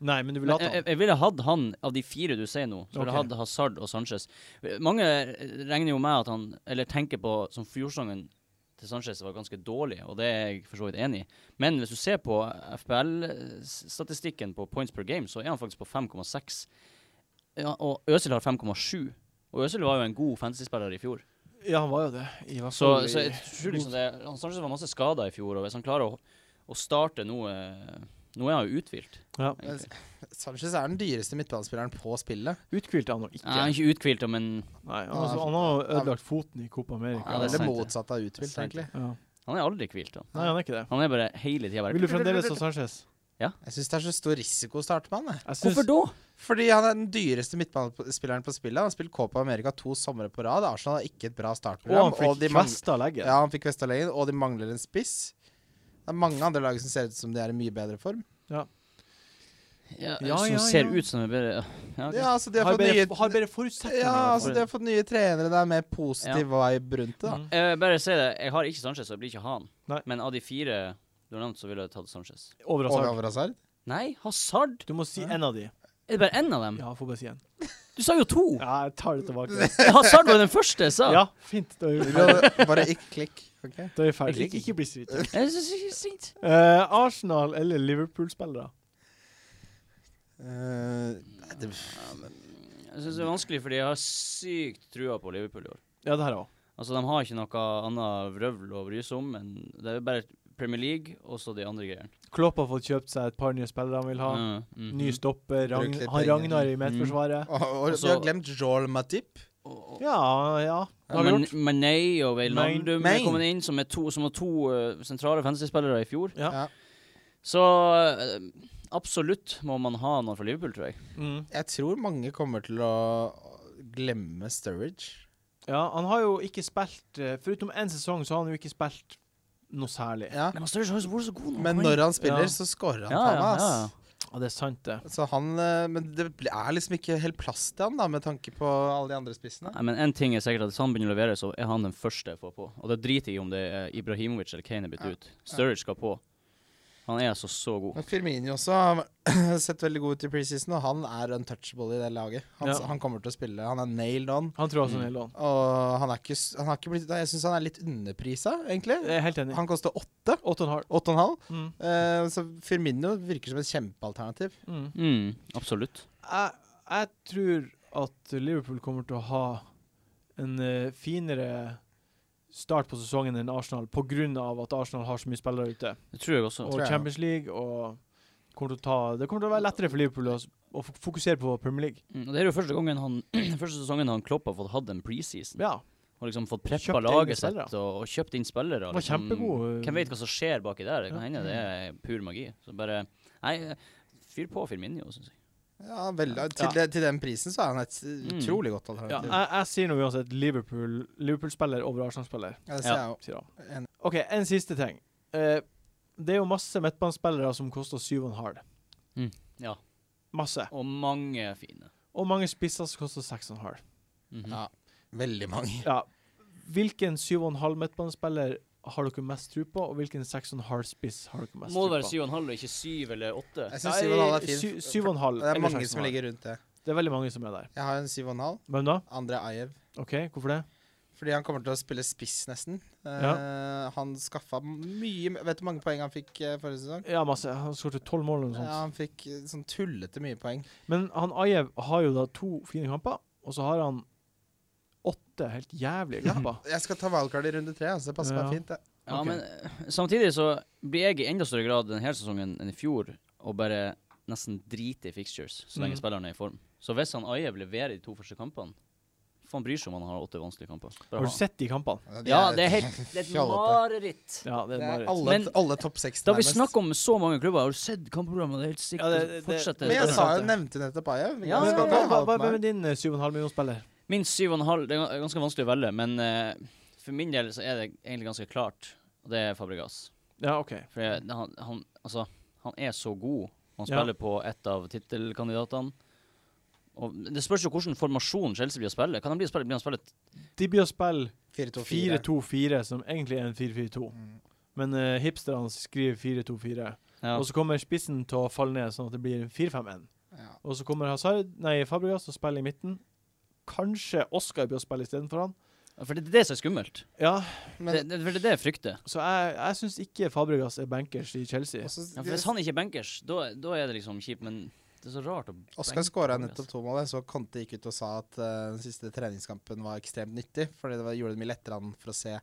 A: Nei men du vil
B: Men
A: ha
B: jeg,
A: han.
B: jeg- jeg ville hatt han av de fire du sier nå. Så ville jeg
A: Ok.
B: hatt Hazard og Sanchez. Mange regner jo med at han Eller tenker på som fjorsongen til Sanchez var ganske dårlig, og det er jeg for så vidt enig i. Men hvis du ser på FPL-statistikken på points per game, så er han faktisk på 5,6. Ja, og Øzil har 5,7. Og Øzil var jo en god fantasyspiller i fjor.
A: Ja, han var jo det. I hvert
B: Så,
A: fall i-
B: så jeg tror liksom det Han Sanchez var masse skader i fjor, og hvis han klarer å, å starte nå eh, Nå er han jo uthvilt.
A: ja.
B: egentlig.
C: Sanchez er den dyreste midtbanespilleren på spillet.
A: Uthvilte han nå ikke.
B: Nei, han er ikke uthvilt, men
A: Nei, han, altså, han har jo ødelagt foten i Copa America.
B: Ja, det er
C: det Eller
B: sant, det.
C: motsatt av uthvilt,
B: Sant, det.
C: egentlig.
A: Ja.
B: han er aldri hvilt. Han.
A: Nei, han er ikke det.
B: han er bare hele tida
A: Vil
B: bare
A: du fremdeles ha Sanchez?
C: Jeg syns det er så stor risiko å starte med han. Jeg.
A: Jeg syns-
B: Hvorfor da?
C: Fordi han er den dyreste midtbanespilleren på spillet. Han har spilt Copa America to somre på rad. Arsenal har ikke et bra
A: Og han
C: startprogram.
A: fikk
C: de mangler-
A: kvesta legget.
C: Ja, han fikk Vestalengen, og de mangler en spiss. Det er mange andre lag som ser ut som de er i mye bedre form.
B: Ja,
A: Ja,
B: som
A: ja,
B: ser
A: ja.
B: ut som en bedre Ja, ok.
C: Ja, altså de har,
A: Har
C: fått nye
A: bedre, har bedre forutsetninger.
C: ja,
A: i hvert
C: altså
A: fall.
C: de har fått nye trenere. Det er mer positiv vibe rundt det. da
A: Mm.
B: Eh, bare si det, jeg har ikke Sanchez, så jeg blir ikke han.
A: Nei.
B: Men av de fire du har nevnt, så ville jeg tatt Sanchez.
A: Over
C: Over
A: Hazard.
C: over Hazard.
B: Nei, Hazard?
A: Du må si en av de.
B: Er det bare én av dem?
A: Ja, får bare si en.
B: Du sa jo to!
A: Ja, jeg tar det tilbake.
B: Hazard var jo den første jeg sa!
A: Ja, fint. Da er vi ferdig.
C: Bare- Bare ikke klikk. ok?
A: Da er vi ferdig.
B: Ikke-
A: Ikke, ikke bli svitt.
B: Jeg synes det er sint.
A: Eh, Arsenal eller Liverpool-spillere?
C: Eh, det,
B: Jeg synes det er vanskelig, fordi jeg har sykt trua på Liverpool i år.
A: Ja, det her òg.
B: Altså, De har ikke noe annet vrøvl å bry seg om, men det er bare Premier League og så de andre greiene.
A: Klopp har fått kjøpt seg et par nye spillere han vil ha.
B: Mm, mhm.
A: Ny stopper. Ragn
C: Brukt litt
A: han
C: penger. Mhm.
A: Ragnar i midtforsvaret.
C: og, og
B: Også-
C: vi har glemt Joel Matip.
B: Og- og-
C: Mhm.
A: Ja, ja. Det har vi
B: Man-
A: gjort.
B: Mané og Wijnaldum
C: Main.
B: er kommet inn, som, er to, som var to eh, sentrale fantasyspillere i fjor.
A: Ja.
C: Ja.
B: Så eh, absolutt må man ha noen fra Liverpool, tror jeg.
A: Mm.
C: Jeg tror mange kommer til å glemme Sturridge.
A: Ja, han har jo ikke spilt eh, Foruten én sesong så har han jo ikke spilt noe særlig.
C: Ja.
B: Men Sturridge har jo vært så god nå.
C: Men når han spiller,
A: Ja.
C: så scorer han.
B: ja,
C: faen,
B: ja,
C: ass.
B: ja.
A: Ja, det er sant, det.
C: Så han, eh, men det bl- er liksom ikke helt plass til han, da, med tanke på alle de andre spissene.
B: Nei, men en ting er sikkert at Hvis han begynner å levere, så er han den første jeg får på. Og det driter jeg i om det er Ibrahimovic eller Kane er byttet ut. Sturridge skal på. Han er altså så god.
C: Men Firmini også har sett veldig god ut i preseason, og han er untouchable i det laget. Han,
A: Ja.
C: han kommer til å spille. Han er nailed on.
A: Han tror også
C: Mhm.
A: han er lån.
C: Og han er ikke, s- han har ikke blitt Jeg syns han er litt underprisa, egentlig.
A: Jeg er helt enig.
C: Han koster åtte.
A: Åtte og en halv.
C: Åtte og en halv.
A: Mm.
C: Eh, så Firmino virker som et kjempealternativ.
A: Mm.
B: Mm, absolutt.
A: jeg, jeg tror at Liverpool kommer til å ha en eh, finere start på sesongen enn Arsenal pga. at Arsenal har så mye spillere ute.
B: Det tror jeg også.
A: Og
C: tror jeg, ja.
A: Champions League og kommer til å ta, Det kommer til å være lettere for Liverpool å, s- å fok- fokusere på Premier League.
B: Mm, og det er jo første gangen han Første sesongen han Klopp har fått hatt en preseason.
A: Ja.
B: Og liksom fått
A: Kjøpt
B: preppa
A: egne
B: laget sitt
A: spillere.
B: og, og kjøpt inn spillere. og
A: var
B: Liksom,
A: kjempegod. øh,
B: Hvem vet hva som skjer baki der? Det kan
A: Ja.
B: hende det er pur magi. Så bare Nei, fyr på Firminio, syns jeg.
C: Ja, vel, til, det- til den prisen så er han et utrolig godt
A: Mm. Ja,
C: alternativ.
A: jeg, jeg sier nå uansett Liverpool- Liverpool-spiller over Arsenal-spiller,
C: Ja, det ser jeg jo.
A: sier han.
C: En-
A: OK, en siste ting. Eh, det er jo masse midtbanespillere som koster 7,5.
B: Mm, Ja.
A: Masse.
B: Og mange fine.
A: Og mange spisser som koster 6,5. Mm.
B: Mhm.
C: Ja. Veldig mange.
A: Ja. Hvilken 7,5 midtbanespiller har dere mest tro på, og hvilken 6,5 spiss har dere mest
B: Må det være
A: tro på?
B: 7,5 og ikke 7 eller 8?
C: Jeg syns 7,5 er fin.
A: Sy- 7,5.
C: Det er
A: eller
C: mange som
A: 6,5.
C: ligger rundt det.
A: Det er veldig mange som er der.
C: Jeg har en 7,5.
A: Hvem da?
C: Andre Ajev.
A: OK, hvorfor det?
C: Fordi han kommer til å spille spiss, nesten. Eh, Han skaffa mye Vet du hvor mange poeng han fikk eh, forrige sesong?
A: Ja, masse. Han skåret 12 mål eller noe
C: Ja,
A: sånt.
C: han fikk eh, sånn tullete mye poeng.
A: Men han Ajev har jo da to fine kamper, og så har han åtte helt jævlige kamper.
C: Jeg skal ta valgkart i runde tre, altså. Det passer
A: Ja.
C: meg fint, det.
B: Ja,
A: Ok.
B: men eh, samtidig så blir jeg i enda større grad denne sesongen enn i fjor og bare nesten driter i fixtures så lenge
A: Mhm.
B: spilleren er i form. Så hvis han Ajev leverer de to første kampene Faen bryr seg om han har åtte vanskelige kamper. Bare
A: Har
B: ha
A: du sett de kampene?
C: Ja,
B: Ja, det er helt Det er et
C: fjollete.
B: mareritt.
A: Ja, det er
C: Det er
A: bare
C: alle,
B: Men-
C: alle topp seks,
B: Da vi snakker om så mange klubber, har du sett kampprogrammet? Det er helt sikkert
A: Ja, det-
B: å
A: det-
B: fortsette
C: Men jeg
B: sånn.
C: sa jo nevnte nettopp Ajev.
B: Ja,
C: Jeg
B: ja, ja.
C: skal ta
A: Hva
C: halvt
A: hva- hvem
C: poeng.
A: er din eh, 7,5 millionspiller?
B: Min 7,5 Det er gans- ganske vanskelig å velge, men eh, for min del så er det egentlig ganske klart. Og det er Fabregas.
A: Ja, OK.
B: For jeg, han, han, altså, han er så god. Han
A: Ja.
B: spiller på et av tittelkandidatene. Og det spørs jo hvilken formasjon Chelsea blir å spille. Kan han bli å spille, blir han å spille et-
A: De blir å spille
C: 4-2-4.
A: 4-2-4, som egentlig er en 4-4-2.
C: Mm,
A: Men eh, hipsterne skriver 4-2-4.
B: ja.
A: Og så kommer spissen til å falle ned, sånn at det blir en 4-5-1.
C: Ja.
A: Og så kommer Hazard, nei, Fabregas og spiller i midten. Kanskje Oscar blir å spille istedenfor han.
B: For det, det er det som er skummelt.
A: Ja,
C: Men
B: det, det, for det er det jeg frykter.
A: så jeg, jeg syns ikke Fabregas er bankers i Chelsea.
C: også-
B: Ja, for hvis han ikke er bankers, da da er det liksom kjipt. Men det er så rart å
C: Oskar skåra nettopp to mål. Jeg så Conte gikk ut og sa at eh, den siste treningskampen var ekstremt nyttig. Fordi det var, gjorde det mye lettere han for å se.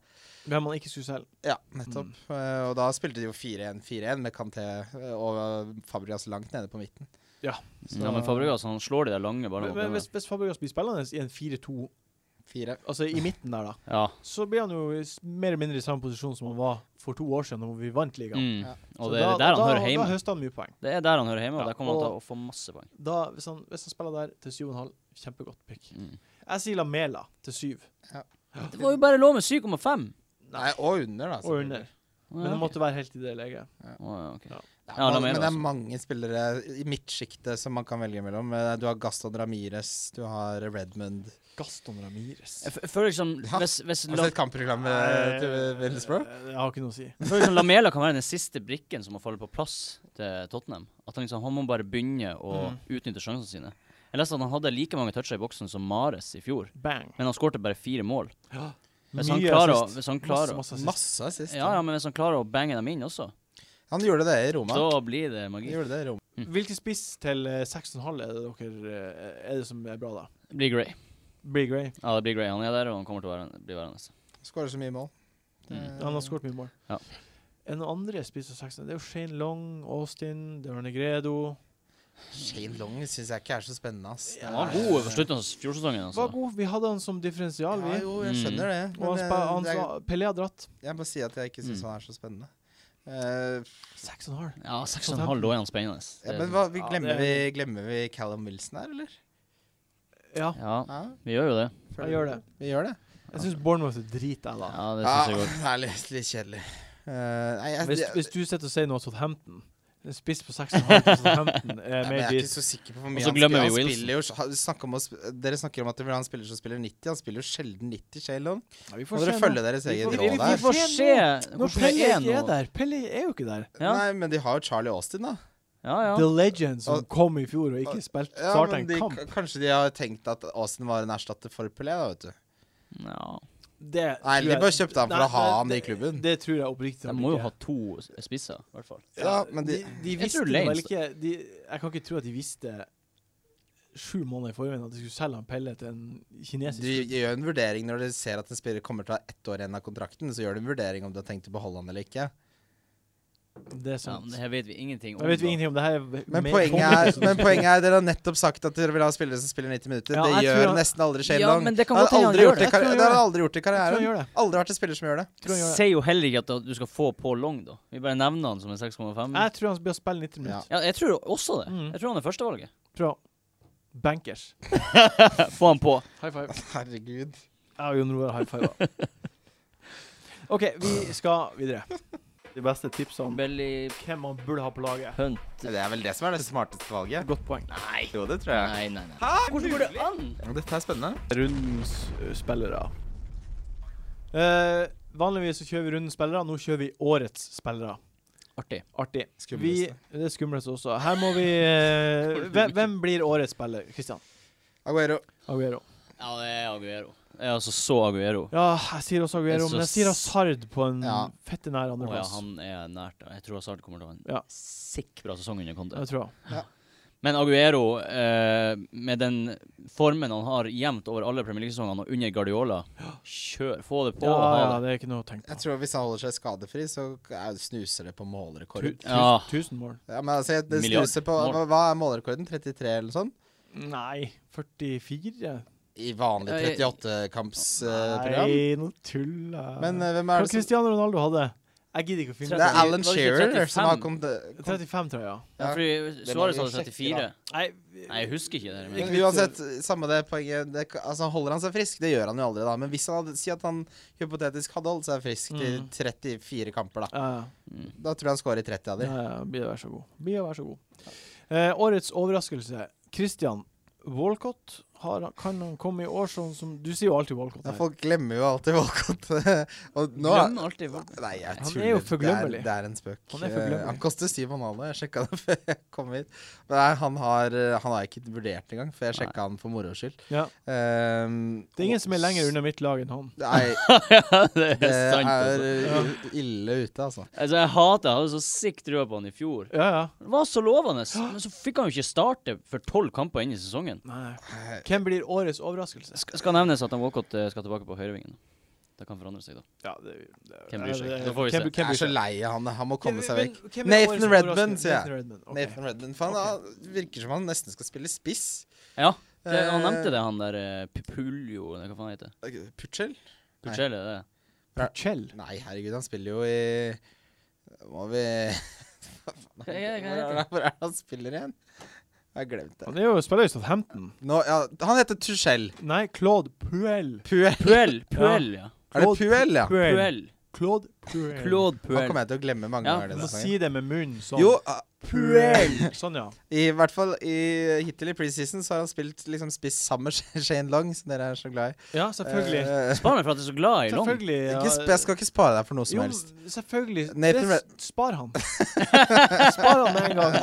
A: Hvem han ikke skulle selge.
C: Ja, nettopp.
B: Mm.
C: Eh, og da spilte de jo 4-1-4-1 med Kanté eh, og Fabregas langt nede på midten.
A: Ja.
C: Så,
B: Ja, men Fabregas han slår de der lange
A: Men, men
B: ballene.
A: hvis, hvis Fabregas blir spillende i en 4-2,
C: Fire.
A: altså i midten der, da,
B: Ja.
A: så blir han jo i s- mer eller mindre i samme posisjon som han var for to år siden, da vi vant ligaen.
B: Mm.
C: Ja.
A: Så
B: Og det
A: da-
B: er der han
A: da-
B: hører
A: Da
B: hjemme.
A: høster han mye poeng.
B: Det er der han hører hjemme,
A: Ja,
B: og der kommer han til
A: og-
B: å få masse poeng.
A: Da, hvis, han, hvis han spiller der til 7,5, kjempegodt pick.
B: Mm.
A: Jeg sier Lamela til 7,
B: Det var jo bare lov med 7,5!
C: Nei, og under, da.
A: og under. Men det måtte være helt i det leget.
B: Å, ja, ok.
C: Det er
B: Ja, da mener
C: mange, men
B: jeg
C: det er mange spillere i midtsjiktet som man kan velge mellom. Eh, Du har Gaston Ramires, du har Redmond
A: Gaston Ramires.
B: Jeg f- eh, føler liksom
C: Ja.
B: Hvis,
C: Altså,
B: hvis
C: Har du
B: La,
C: sett kampprogrammet til Middlesbrough?
A: Eh, Jeg har ikke noe å si.
B: jeg føler liksom Lamela kan være den siste brikken som må falle på plass til Tottenham. At han liksom Han må bare begynne å
A: Mm.
B: utnytte sjansene sine. Jeg leste at han hadde like mange toucher i boksen som Mares i fjor,
A: Bang.
B: men han skårte bare fire mål. Hvis han
A: Mye
B: klarer å
A: assist.
B: Hvis han klarer
A: Masse,
B: å
A: masse assist.
C: Masse assist.
B: ja, ja, men hvis han klarer å bange dem inn også,
C: Han gjorde det i Roma.
B: da blir det
C: Han
B: magi.
C: gjorde det i Roma.
A: Hvilken spiss til eh, 6,5 er det dere eh, Er det som er bra, da?
B: Det blir Gray.
A: Blir Gray.
B: Ja, det blir Gray. Han er der, og han kommer til å være, bli værende.
C: Skårer så mye mål. Eh,
B: Mm.
A: Han har skåret mye mål.
B: Ja.
A: Er det noen andre spisser 6,5? Det er jo Shane Long, Austin, det er Negredo
C: Shane Long syns jeg ikke er så spennende, ass.
B: Han var god på slutten av fjorårssesongen. Altså.
A: Var god. Vi hadde han som differensial,
C: Ja,
A: vi.
C: jo,
B: Mm.
C: jeg skjønner det.
A: Og han
C: Men
A: spa- han
C: eh, det er,
A: sa Pelé har dratt.
C: jeg må si at jeg ikke
B: Mm.
C: syns han er så spennende. Eh,
A: 6,5.
B: Ja, 6,5 da er han spennende.
C: ja,
B: Det er
C: men
B: sånn-
C: hva, vi
A: Ja,
C: glemmer,
A: det
C: vi, glemmer vi Callum Wilson her, eller?
A: Ja,
B: Ja,
C: Ja,
B: vi gjør jo det.
C: føler
A: jeg gjør det.
C: du- Vi gjør det.
A: Jeg syns Bournemouth er drit, jeg, da.
B: Ja, det synes jeg
C: Ja,
B: godt.
C: det er litt, litt kjedelig. Eh, nei, jeg,
A: Hvis,
C: jeg,
A: hvis du sitter og sier noe Southampton En spiss på 6,5 til Southampton eh, er
C: ja, men jeg
A: mer
C: er ikke
A: drit.
C: så sikker på hvor
B: Og
C: mye
B: så
C: han
B: glemmer
C: spiller. Han
B: vi Wilson.
C: spiller jo, han snakker om å sp dere snakker om at han spiller som spiller 90. Han spiller jo sjelden 90, Shane Long.
A: Ja, vi
C: Må dere
A: se nå.
C: følge deres
A: Vi
C: eget
A: får-
B: Vi, vi,
C: råd
B: vi
C: der.
B: får se
A: Når
B: hvordan
A: Pelé
B: det er
A: ikke er
B: nå.
A: der Pelé er jo ikke der.
B: Ja.
C: Nei, men de har jo Charlie Austin, da.
B: Ja, ja.
A: The Legend som
C: Og-
A: kom i fjor og ikke
C: og-
A: spilte
C: Ja,
A: starta
C: men
A: en
C: de,
A: kamp.
C: k- Kanskje de har tenkt at Austin var en erstatter for Pelé, da, vet du.
B: ja.
A: Det
C: Nei,
A: tror
C: de
A: jeg-
C: bare kjøpte han for
A: Nei,
C: å ha
A: nei,
C: han i
A: det-
C: klubben.
A: Det tror jeg oppriktig
B: De
A: han
B: må jo
A: ikke.
B: ha to s- spisser, i hvert fall.
C: Ja, men de-
A: de,
B: Jeg
A: visste
B: tror
A: det vel
B: Lanes-
A: ikke de, Jeg kan ikke tro at de visste sju måneder i forveien at de skulle selge han Pelle til en kinesisk
C: De gjør en vurdering når de ser at en spiller kommer til å ha ett år igjen av kontrakten. Så gjør de en vurdering om de har tenkt å beholde han eller ikke.
A: Det er
B: Ja, men
A: sant.
B: det her vet vi ingenting om.
A: Jeg vet
B: da.
A: vi ingenting om det her. er
C: Men
A: mer
C: poenget,
A: komplekst.
C: er, men poenget er dere har nettopp sagt at dere vil ha spillere som spiller 90 minutter.
A: Ja,
C: det
A: jeg tror
C: gjør
A: han-
C: nesten aldri Shane
B: Ja,
C: Long.
B: men det kan
C: Han
B: godt hende
C: har
B: han
C: aldri
B: gjort
C: gjort det i
A: det. Jeg tror
C: karri-
A: han
C: det har
A: gjør
C: han aldri gjort i
A: Jeg tror han
C: karrieren.
A: gjør det.
C: Aldri vært en spiller som gjør det.
A: Tror han gjør det.
B: Sier jo heller ikke at at du skal få Paul Long, da. Vi bare nevner han som en 6,5.
A: Jeg tror han blir å spille 90
C: Ja.
A: minutter.
B: Ja, jeg tror også det.
A: Mm.
B: Jeg tror han er førstevalget.
A: Tror han. Bankers.
B: Få han på.
A: High five.
C: Herregud.
A: Jeg og Jon Roar high five. OK, vi skal videre. De beste tipsene om
B: Belly
A: hvem man burde ha på laget.
B: Hunt.
C: Det er vel det som er det smarteste valget.
A: Godt poeng.
B: Nei.
C: Jo, det tror jeg.
B: Nei, nei, nei. Hvordan går det an?
C: Dette er spennende.
A: Rundens ø, spillere. Eh, vanligvis så kjører vi rundens spillere, nå kjører vi årets spillere.
B: Artig.
A: Artig. Vi,
C: Skumleste.
A: det er skumleste også. Her må vi eh, hvem, hvem blir årets spiller? Kristian
C: Aguero.
A: Aguero.
B: Ja, det er Aguero. Jeg er altså så Aguero. Å
A: Ja, jeg sier også Aguero,
B: Jeg
A: men jeg
B: synes-
A: sier Hazard på en
C: Ja.
A: fette nær
B: ja,
A: andreplass.
B: han er nært. da. Jeg tror Hazard kommer til å ha en
A: Ja.
B: sikk bra sesong under Conte.
A: Jeg tror jeg.
B: Men Aguero, eh, med den formen han har jevnt over alle Premier League-sesongene og under Guardiola Kjør! Få det på!
A: Ja,
B: og ha
A: ja,
B: det.
A: det er ikke noe å tenke
C: Jeg
A: på.
C: tror Hvis han holder seg skadefri, så er- snuser det på
A: Tu,
C: målrekord.
A: tu,
B: Ja.
A: Tusen mål.
C: Ja, men altså, det
B: Milliard.
C: snuser på,
B: Mål.
C: hva er målrekorden? 33 eller noe sånt?
A: Nei, 44?
C: I vanlig
B: Ja, jeg-
C: 38-kampsprogram.
A: Nei, nå tuller jeg.
C: eh, Men eh, hvem
A: Hva
C: er det som
A: Cristiano Ronaldo hadde? Jeg gidder ikke å
C: Det
A: finne
C: er
A: ut.
C: Alan
B: Var det ikke
C: Shearer som har
B: 35?
C: kommet
A: 35, tror jeg. ja.
B: Ja,
C: Ja.
B: fordi
C: Det må
B: Suarez
C: vi
B: hadde
C: sjekke,
B: 34.
C: da.
A: Nei,
B: Nei, jeg husker ikke det.
A: Ikke
B: Men.
A: vits
C: Men
A: i-
C: uansett, samme det poenget det, altså Holder han seg frisk? Det gjør han jo aldri, da. Men hvis han hadde, si at han hypotetisk hadde holdt seg frisk til
A: Mm.
C: 34 kamper, da.
A: Ja,
B: Mm.
C: Da tror jeg han scorer 30 av
A: ja,
C: de.
A: ja, blir vær så god. Blir vær så god. Eh, årets overraskelse. Christian Walcott, har, han- kan han komme i år sånn som Du sier jo alltid Walcott.
C: Ja,
A: her.
C: folk glemmer jo alltid Walcott. og nå
B: Glemmer alltid folk.
C: Nei, jeg
A: Han er
C: tuller.
A: jo
C: Det
A: forglemmelig.
C: Det er en spøk.
A: Han er
C: Eh,
A: forglemmelig.
C: han koster 7,5. Jeg sjekka det før jeg kom hit. Men nei, han har, han har jeg ikke vurdert engang, for jeg sjekka han for moro skyld.
A: Ja.
C: Ehm,
A: Det er ingen som er
C: og-
A: lenger unna mitt lag enn han.
C: Nei,
B: Ja, det
C: det
B: er sant.
C: er
B: Altså.
C: i- ille ute, altså.
B: Altså, jeg hater Jeg hadde så sikt trua på han i fjor.
A: Ja, ja.
B: Det var så lovende, men så fikk han jo ikke starte for tolv kamper inn i sesongen.
A: Nei. Hvem blir årets overraskelse?
B: Skal, skal nevnes at han Walcott eh, skal tilbake på høyrevingen. Det kan forandre seg, da.
A: Ja, det, det,
B: Hvem bryr seg?
A: det-
B: Så får vi
A: hvem-
B: se.
A: hvem
C: Jeg
A: bryr
C: er så
A: seg?
C: lei av han. Han må komme seg
A: Hvem-
C: vekk.
A: hvem blir
C: Nathan
A: årets
C: Redman,
A: overraskelse?
C: sier jeg.
A: Nathan Redman, ok.
C: Nathan Redman. For han han virker som han nesten skal spille spiss.
B: Ja, det, han
C: Eh,
B: nevnte det, han der eh, Pipuljo eller Hva faen heter det?
C: Puchel?
B: Puccelli, er det det?
A: Kjell?
C: Nei, herregud, han spiller jo i Må vi
B: Hva er det- hva
C: Hvor er
B: heter det?
C: det- hvor er det han spiller igjen? Jeg har glemt det.
A: Han er jo spiller i Southampton.
C: Nå, ja, han heter Tuchel.
A: Nei, Claude Puel.
C: Puel.
B: Puel, Puel, ja.
C: Er det Puel, ja?
B: Puel.
A: Claude Puel.
B: Claude
C: Han
B: Puel.
C: kommer jeg til å glemme mange
B: Ja,
C: ganger.
A: Du
C: denne
A: må
C: sesongen.
A: si det med munnen sånn.
C: Jo, ah,
A: Puel. Sånn, ja.
C: i hvert fall i, hittil i preseason så har han spilt liksom spiss sammen med Shane Long, som dere er så glad i.
A: Ja, selvfølgelig.
C: Eh,
B: Spar meg for at jeg er så glad i Long.
A: Selvfølgelig. Ja.
C: ikke, sp- jeg skal ikke spare deg for noe som
A: Jo,
C: helst.
A: selvfølgelig.
C: Nathan
A: det,
C: Red-
A: spar han. spar han med en gang.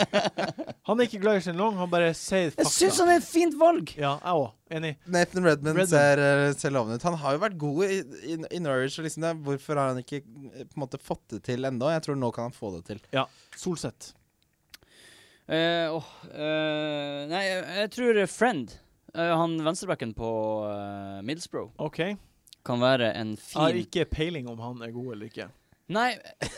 A: Han er ikke glad i Shen Long, han bare sier
B: Jeg syns
A: fakta.
B: han er et fint valg!
A: Ja, jeg òg. Enig.
C: Nathan Redman,
A: Redman.
C: Ser, eh, ser lovende ut. Han har jo vært god i, i, i Norwich. Og liksom det, er- hvorfor har han ikke eh, på en måte fått det til ennå? Jeg tror nå kan han få det til.
A: Solseth.
B: Eh, åh, eh, nei, jeg, jeg tror eh, Friend, eh, han venstrebacken på uh, Middlesbrough,
A: OK. Jeg
B: kan være en
A: har
B: fin
A: ikke peiling om han er god eller ikke.
B: Nei,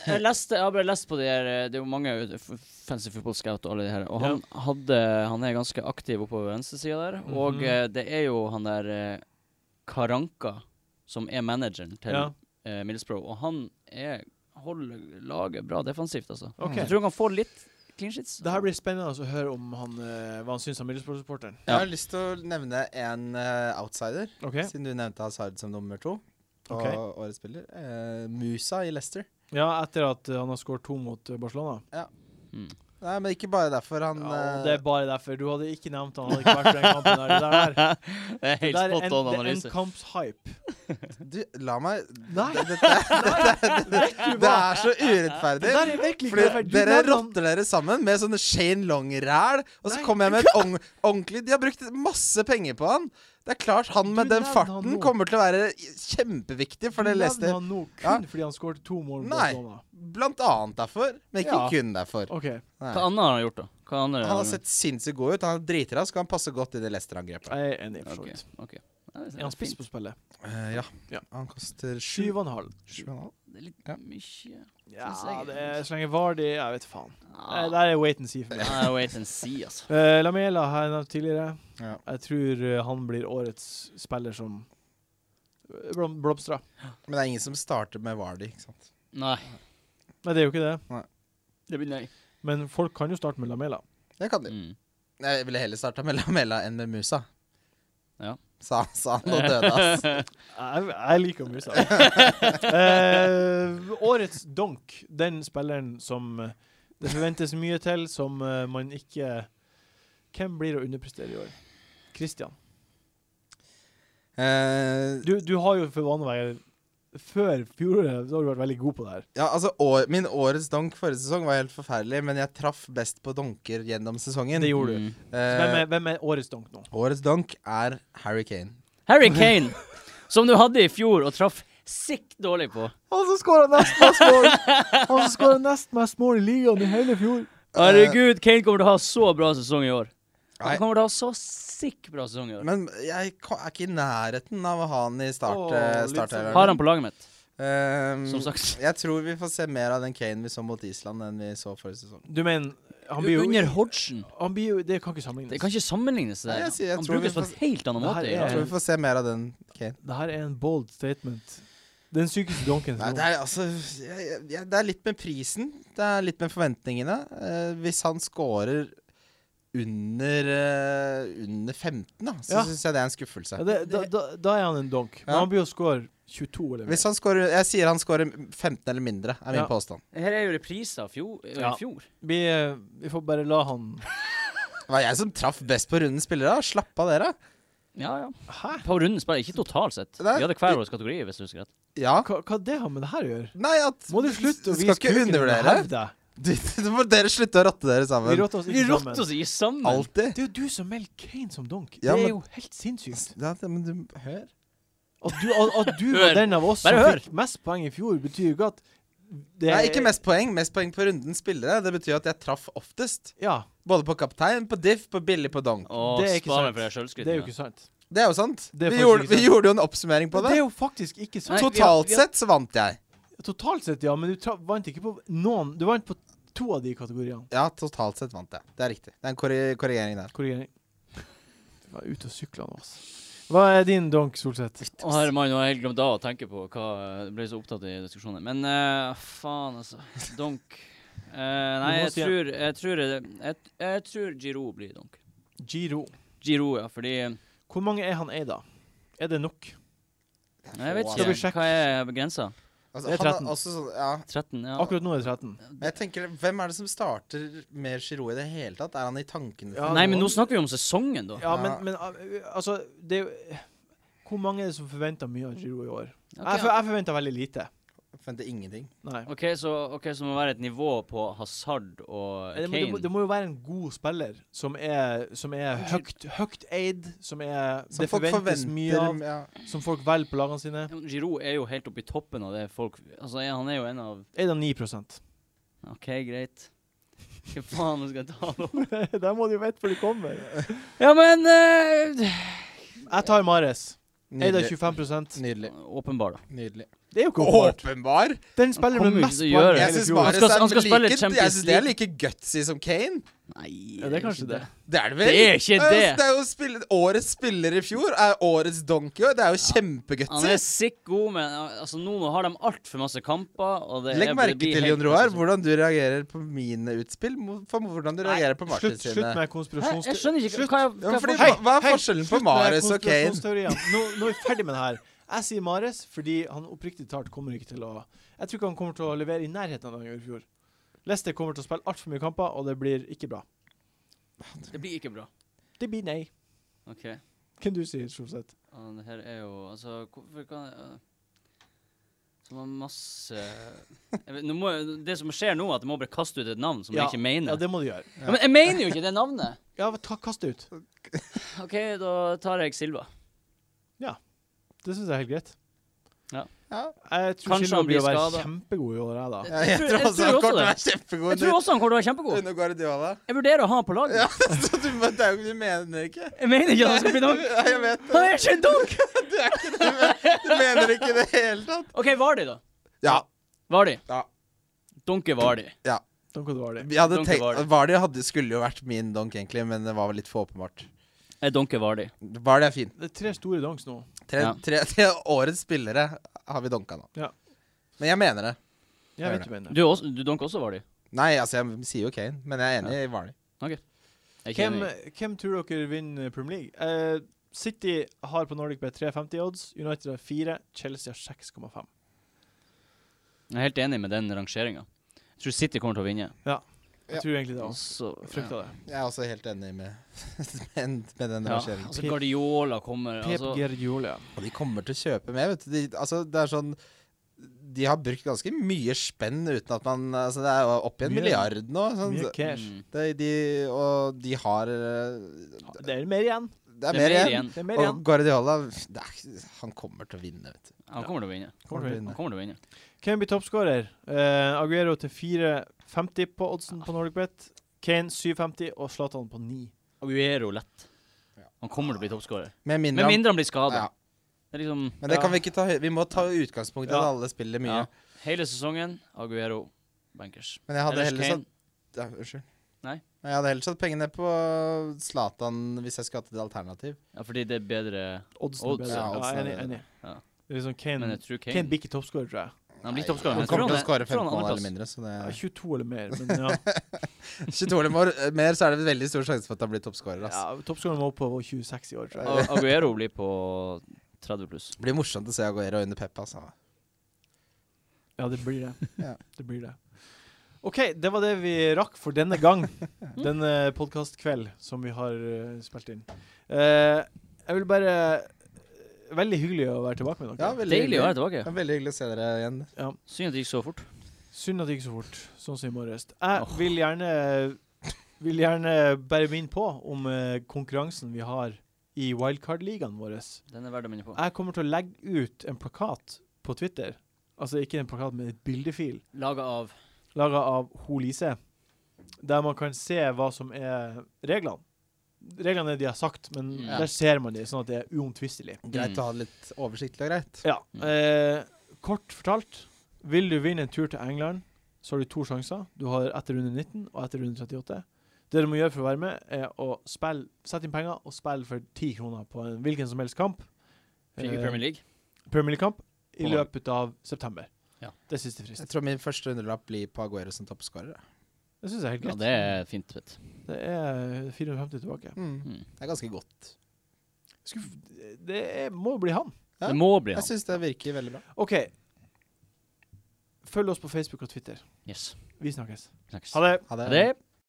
B: jeg leste Jeg har bare lest på de her eh, Det er jo mange ut- f- fancy football scout og alle de her, og han hadde Han er ganske aktiv oppover venstresida der, og
A: Mhm.
B: eh, det er jo han der eh, Karanka som er manageren til
A: Ja.
B: eh, Middlesbrough, og han er holder laget bra defensivt, altså.
A: OK.
B: Jeg tror han kan få litt clean sheets.
A: Det her blir spennende å høre om han, eh, hva han syns om Middlesbrough-supporteren.
C: Jeg
B: Ja.
C: har lyst til å nevne en eh, outsider,
A: OK?
C: siden du nevnte Hazard som nummer to. Og
A: Ok.
C: årets spiller. Eh, Musa i Leicester.
A: Ja, etter at eh, han har skåret to mot eh, Barcelona.
B: Mm.
C: Nei, men ikke bare derfor. Han
A: Ja, og
C: eh,
A: det er bare derfor. Du hadde ikke nevnt han, hadde ikke vært på den kampen der. Det der,
B: det er
A: det
B: helt
A: der
B: spot on
A: en, det er en
B: analyse.
A: kamps-hype.
C: Du, la meg
A: Nei.
C: Dette, dette, dette, det er så
A: Det
C: urettferdig.
A: der er virkelig ikke
C: Fordi
A: rettferdig. Du
C: dere
A: nevner han-
C: rotter dere sammen med sånne Shane Long-ræl, og så
A: Nei.
C: kommer jeg med et ong- ordentlig De har brukt masse penger på han. Det er klart han med
A: Du
C: den
A: nevner han
C: farten
A: nå.
C: kommer til å være kjempeviktig for det
A: Du nevner
C: Leicester.
A: han nå kun
C: Ja.
A: fordi han skåret to mål mot
C: Nei.
A: Barcelona.
C: Blant annet derfor, men ikke
A: Ja.
C: kun derfor.
A: OK.
C: Nei.
B: Hva annet har han gjort, da? Hva annet
C: Han har sett sinnssykt god ut. Han er dritrask, og han passer godt inn i Leicester-angrepet.
A: Jeg er enig, for så
B: Ok,
A: vidt.
B: ok. Nei, Ja, det
A: Er han spiss på spillet?
C: Eh, ja.
A: Ja.
C: Han koster sju.
A: Syv og en halv.
C: Sju og en halv.
B: Det er litt
C: Ja.
B: mye
A: Ja,
B: Synes jeg-
A: det er, så lenge Vardy Jeg vet faen. Eh,
B: ah.
A: Det der er wait and see for meg.
B: Ja, wait and see, altså.
A: Eh, Lamela har jeg nevnt tidligere.
C: Ja.
A: Jeg tror eh, han blir årets spiller som eh, blom- blomstrer.
C: Men det er ingen som starter med Vardy, ikke sant.
B: Nei,
A: Nei, det er jo ikke det.
B: det blir nei.
A: Men folk kan jo starte med Lamela.
C: Det kan de.
B: Mm.
C: Jeg ville heller starta med Lamella enn med Musa.
B: Ja.
C: Sa, sa han og døde, ass.
A: Jeg, jeg liker Musa. Eh, årets donk, den spilleren som eh, det forventes mye til, som eh, man ikke Hvem blir å underprestere i år? Christian.
C: Eh,
A: Du, du har jo for vane å være Før fjoråret så har du vært veldig god på det her.
C: ja, altså, år, min årets donk forrige sesong var helt forferdelig, men jeg traff best på donker gjennom sesongen.
A: Det gjorde du.
B: Mm.
A: Så Hvem
C: Eh,
A: er, hvem er årets donk nå?
C: årets donk er Harry Kane.
B: Harry Kane, som du hadde i fjor og traff sikt dårlig på.
A: Han som skåra nest mest mål Han som skåra nest mest mål i ligaen i hele fjor.
B: Herregud, Kane kommer til å ha så bra sesong i år.
C: Nei.
B: Han kommer til å ha så sikt bra sesong i år.
C: Men jeg ka- er ikke i nærheten av å ha han i start,
A: Åh,
C: eh,
A: litt
C: startelveren.
B: Har han på laget mitt,
C: Ehm,
B: som sagt.
C: Jeg tror vi får se mer av den Kane vi så mot Island, enn vi så forrige sesong.
A: Du mener han blir jo,
B: Under Hodgson.
A: han blir jo Det kan ikke sammenlignes.
B: Det kan ikke sammenlignes. det
C: Nei, jeg
B: der.
C: sier- jeg
B: Han
C: tror vi
B: brukes på en
C: får-
B: helt annen
A: Det her
B: måte. i
A: er-
C: Jeg
B: år.
C: tror vi får se mer av den Kane.
A: Det her er en bold statement. Den sykeste donken.
C: Nei, det, er, altså, jeg, jeg, det er litt med prisen. Det er litt med forventningene. Eh, hvis han scorer under, eh, under 15, da, så
A: Ja.
C: syns jeg det er en skuffelse.
A: ja, det, da, da, da er han en donk. Men
C: Ja.
A: han blir å score 22 eller mer.
C: Hvis han scorer, jeg sier han scorer 15 eller mindre, er min
A: Ja.
C: påstand.
B: Her er jo repriser av fjor. eh,
A: Ja.
B: fjor.
A: Vi, eh, vi får bare la han
C: Det var jeg som traff best på rundens spillere. Slapp av, dere.
B: Ja, ja.
A: Hæ?
B: På runden spiller, ikke totalt sett.
C: Nei.
B: Vi hadde hver vår kategori, hvis du husker rett.
C: Ja.
A: Hva, hva det har med det her å gjøre?
C: Nei, at
A: Må du slutte å
C: Skal
A: vise
C: ikke
A: kuken og
C: undervurdere.
A: hevde deg?
C: du, du må dere slutte å rotte dere
A: Vi
C: sammen.
A: rotter oss
B: Vi
A: ikke sammen.
B: rotter oss ikke sammen!
C: Alltid.
A: Det er jo du som melder Kane som donk.
C: Ja,
A: det
C: men-
A: er jo helt sinnssykt.
C: Ja, det- men du hør.
A: At du, at, at du
B: Hør.
A: var den av oss som
B: Bare hør.
A: fikk mest poeng i fjor, betyr jo ikke at det
C: Nei, ikke mest poeng. Mest poeng på rundens spillere. Det betyr at jeg traff oftest.
A: Ja,
C: Både på kaptein, på diff, på billig, på dong.
B: Og
A: Det er ikke
B: spar meg
A: sant.
B: for det
A: det er jo ikke
B: sjølskrytet.
A: sant.
C: Det er jo sant.
A: Det er
C: vi,
A: faktisk
C: gjorde,
A: ikke
C: vi
A: sant.
C: gjorde jo en oppsummering på
A: Det
C: det.
A: er jo faktisk ikke sant.
B: Nei, vi har-
C: Totalt
B: vi har-
C: sett så vant jeg.
A: Totalt sett, ja, men du tra vant ikke på noen. Du vant på to av de kategoriene.
C: Ja, totalt sett vant jeg. Det er riktig. Det er en korri- korrigering der.
A: Korrigering. Du var ute og sykla nå, altså. Hva er din donk, Solseth?
B: Å herre mann, nå har jeg helt glemt av å tenke på hva Jeg ble så opptatt i diskusjonen. Men eh, faen, altså. Donk. Eh, nei,
A: Du må
B: jeg
A: si-
B: tror jeg tror, jeg, jeg tror Giro blir donk.
A: Giro.
B: Giro, ja, fordi eh, Nei,
A: Hvor mange er han eid av? Er det nok?
B: Jeg vet
C: Skal
A: vi sjekke?
B: ikke. Hva er grensa?
C: Altså,
A: Det er
C: han er
A: 13.
C: også sånn, ja.
B: 13? Ja.
A: Akkurat nå er det 13.
C: Men Jeg tenker, Hvem er det som starter med Giroud i det hele tatt? Er han i tankene?
A: Ja.
B: Nei, men nå snakker vi om sesongen, da.
A: Ja, men, men al- altså det er jo Hvor mange er det som forventer mye av Giro i år? Jeg, for,
B: Ok,
A: jeg forventer veldig lite.
C: Jeg forventer ingenting.
A: Nei.
B: Ok, så, ok, så må det være et nivå på Hazard og
A: Det må, det, må,
B: Kane.
A: det må jo være en god spiller som er, som er høyt, høyt eid, som er
C: Som
A: Det forventes mye av,
C: ja.
A: som folk velger på lagene sine.
B: Giro er jo helt oppe i toppen av det folk Altså, ja, han er jo en av
A: Eid av 9
B: OK, greit. Hva faen skal jeg ta nå?
A: Der må du jo vite hvor de kommer.
B: Ja, men eh,
A: Jeg tar Mares. Eid av
C: Nydelig.
A: 25
C: Nydelig.
B: Åpenbar, da.
C: Nydelig.
A: Det er jo ikke åpenbart.
C: Åpenbar!
A: Den spiller
B: kommer
A: med
B: jo
A: mest
B: ikke
A: poeng
B: til å gjøre
A: i
C: Jeg
B: det.
A: hele
C: syns
A: fjor.
B: bare- Han skal- han skal spille
C: like, jeg
B: Champions
C: synes det er like gutsy som Kane.
B: Nei
A: Ja, det er kanskje det.
C: Det er det vel?
B: Det er ikke
C: jo-
B: det.
C: det er jo spille, årets spiller i fjor er årets donkey. og Det er jo
B: Han er
C: kjempegutsy.
B: sikk god, men uh, altså, nå nå har de altfor masse kamper. Og det
C: Legg
B: er-
C: merke
B: det blir
C: til,
B: helt- altså-
C: Jon Roar, hvordan du reagerer på mine utspill mo- for hvordan du reagerer på Martin
A: Slutt, slutt
C: sine.
A: med
B: Hæ? Jeg
A: konspirasjonsteorien.
B: skjønner ikke
A: Slutt.
B: hva jeg, hva
C: Ja,
B: jeg
C: fordi,
B: får-
A: Hei,
C: hva, hva er
A: hei,
C: forskjellen på
A: slutt med
C: Mares og Kane?
A: konspirasjonsteorien. Nå, nå er vi ferdig med det her. Jeg sier Mares fordi han oppriktig talt kommer ikke til å Jeg tror ikke han kommer til å levere i nærheten av det han gjorde i fjor. Leicester kommer til å spille altfor mye kamper, og det blir ikke bra.
B: Det blir ikke bra.
A: Det blir nei.
B: OK.
A: Hvem du sier, Solseth?
B: Ja, det her er jo Altså, hvorfor kan jeg uh, Så man masse jeg vet, nå må, jeg- Det som skjer nå, er at jeg må bare kaste ut et navn som jeg ikke mener.
A: Ja, det må du gjøre.
B: Ja, men jeg mener jo ikke det navnet!
A: Ja, ta, kast det ut.
B: OK, da tar jeg Silva.
A: Det syns jeg er helt greit.
B: Ja.
C: Ja.
A: Jeg tror
B: Kanskje
A: Schindler
B: han blir
A: blir å være
B: skadet.
A: kjempegod i år, jeg, da.
C: Ja, jeg
B: tror- jeg tror
C: tror også han
B: også
C: kommer til å
B: det.
C: være kjempegod
B: Jeg tror også han kommer til å være kjempegod.
C: under Guardiola.
B: Jeg vurderer å ha han på laget.
C: Ja, så du, men det er jo ikke du mener ikke.
B: Jeg mener ikke at han skal bli dunk.
C: Ja, jeg vet
B: Han er ikke en dunk!
C: Du mener ikke i det hele tatt.
B: OK, Vardi, da.
C: Ja.
B: Vardi.
C: Ja.
B: Dunke Vardi.
A: Don Codvardi.
C: Vi hadde
B: Donkey
C: tenkt,
B: Vardy.
C: Vardy hadde, skulle jo vært min donk, egentlig, men det var litt for åpenbart.
B: Jeg dunker Vardi.
C: Vardy er fin.
A: Det er tre store donks nå.
C: Tre,
B: Ja.
C: tre, tre årets spillere har vi donka nå.
A: Ja.
C: Men jeg mener det.
A: Jeg
C: Gjør
A: vet ikke hvem det
B: Du, er også, du dunker også Vardi?
C: Nei, altså, jeg sier jo Kane, men jeg er enig i Vardy.
B: Jeg er ikke
A: hvem,
B: enig.
A: hvem tror dere vinner Premier League? Eh, City har på Nordic Bet 3,50 odds. United har 4. Chelsea har 6,5.
B: Jeg er helt enig med den rangeringa. Jeg tror City kommer til å vinne.
A: Jeg
C: Ja.
A: tror egentlig det.
B: Og
A: Også.
B: så
A: Frykta det.
C: Jeg er også helt enig med, med, med den
B: ja,
C: rangeringen.
B: altså Guardiola kommer
A: Pep
B: altså,
A: Guardiola.
C: Og de kommer til å kjøpe mer, vet du. De, altså, det er sånn De har brukt ganske mye spenn uten at man Altså, det er jo opp i en
A: Mye-
C: milliard nå. Sånn,
A: Mye cash.
B: mm.
C: det, de, og de har eh,
A: Det er mer igjen.
C: Det er mer igjen.
A: Det er mer
C: Og
A: igjen.
C: Guardiola det er, Han kommer til å vinne, vet du.
B: Han kommer til å vinne.
A: Kommer til å vinne.
B: Han kommer til å vinne.
A: Kane blir toppskårer. Eh, Aguero til 4,50 på oddsen på Nordic Bet. Kane 7,50 og Zlatan på 9.
B: Aguero lett.
C: Ja.
B: Han kommer til å bli toppskårer.
C: Med mindre,
B: Med
C: han-
B: mindre han blir skada.
C: ja.
B: Det er liksom
C: Men det
A: Ja.
C: kan vi ikke ta høy- Vi må ta utgangspunkt i at
A: Ja.
C: alle spiller mye.
B: ja. Hele sesongen Aguero bankers.
C: Men jeg hadde
B: Ellers
C: heller
B: Kane.
C: satt ja, Unnskyld.
B: Nei.
C: Jeg hadde heller satt pengene på Zlatan hvis jeg skulle hatt et alternativ.
B: Ja, fordi det er bedre
A: Oddsen er
B: Odds,
A: bedre.
C: ja,
A: Ja,
C: oddsen er
A: enig.
C: bedre.
A: enig.
B: Ja.
A: Det er liksom
B: Men
A: Kane,
B: jeg tror
A: Kane
B: Kane
A: blir ikke toppskårer, tror jeg.
B: Han blir
C: Nei,
B: toppskårer. men
C: Han
B: jeg tror
C: kommer til å
B: er-
C: skåre
B: tror han er
C: 15 mål
B: andreplass.
C: eller mindre, så det
A: Ja, 22 eller mer, men ja.
C: 22 eller mer, mer, så er det veldig stor sjanse for at han blir toppskårer.
A: ja
C: ass.
A: Toppskåreren må opp på 26 i år, tror jeg.
B: A- Aguero blir på 30 pluss.
C: Det blir morsomt å se Aguero under Pep, altså.
A: Ja, det blir det.
C: Ja.
A: Det blir det. OK, det var det vi rakk for denne gang. Denne podkastkveld som vi har eh, spilt inn. Eh, jeg vil bare eh, Veldig hyggelig å være tilbake med
C: Ja,
A: dere.
C: veldig
B: Deilig å være
C: hyggelig.
B: tilbake.
C: Ja, veldig hyggelig å se dere igjen.
B: Synd at det gikk så fort.
A: Synd at det gikk så fort, sånn som i morges. Jeg vil gjerne vil gjerne bare minne på om eh, konkurransen vi har i wildcard-ligaen vår.
B: Den er verdt å minne på.
A: Jeg kommer til å legge ut en plakat på Twitter. Altså ikke en plakat, men et bildefil
B: Laga av
A: laga av Ho Lise, der man kan se hva som er reglene. Reglene er de har sagt, men
B: Ja.
A: der ser man de, sånn at det er uomtvistelig.
C: Greit å ha det litt oversiktlig og greit.
A: Ja.
B: Mm.
A: Eh, kort fortalt, vil du vinne en tur til England, så har du to sjanser. Du har etter runde 19 og etter runde 38. Det du må gjøre for å være med, er å spille, sette inn penger og spille for ti kroner på en hvilken som helst kamp. Eh,
B: Fikk
C: Eh,
B: i Premier League.
A: Premier League-kamp i
B: På-
A: løpet av september.
B: Ja.
A: Det er siste frist.
C: Jeg tror min første underlapp blir på Aguero som toppskårer. da.
A: Det syns jeg er helt
B: Ja,
A: greit.
B: det er fint. Vet. du.
A: det er 450 tilbake.
C: Mm.
B: Mm.
C: Det er ganske godt.
A: Skuff, det er, må bli han.
C: Ja.
B: Det må bli
C: Jeg
B: han.
C: syns det virker veldig bra.
A: OK. Følg oss på Facebook og Twitter.
B: Yes.
A: Vi snakkes.
B: Snakkes.
A: Ha det.
C: Ha det.
B: Ha det.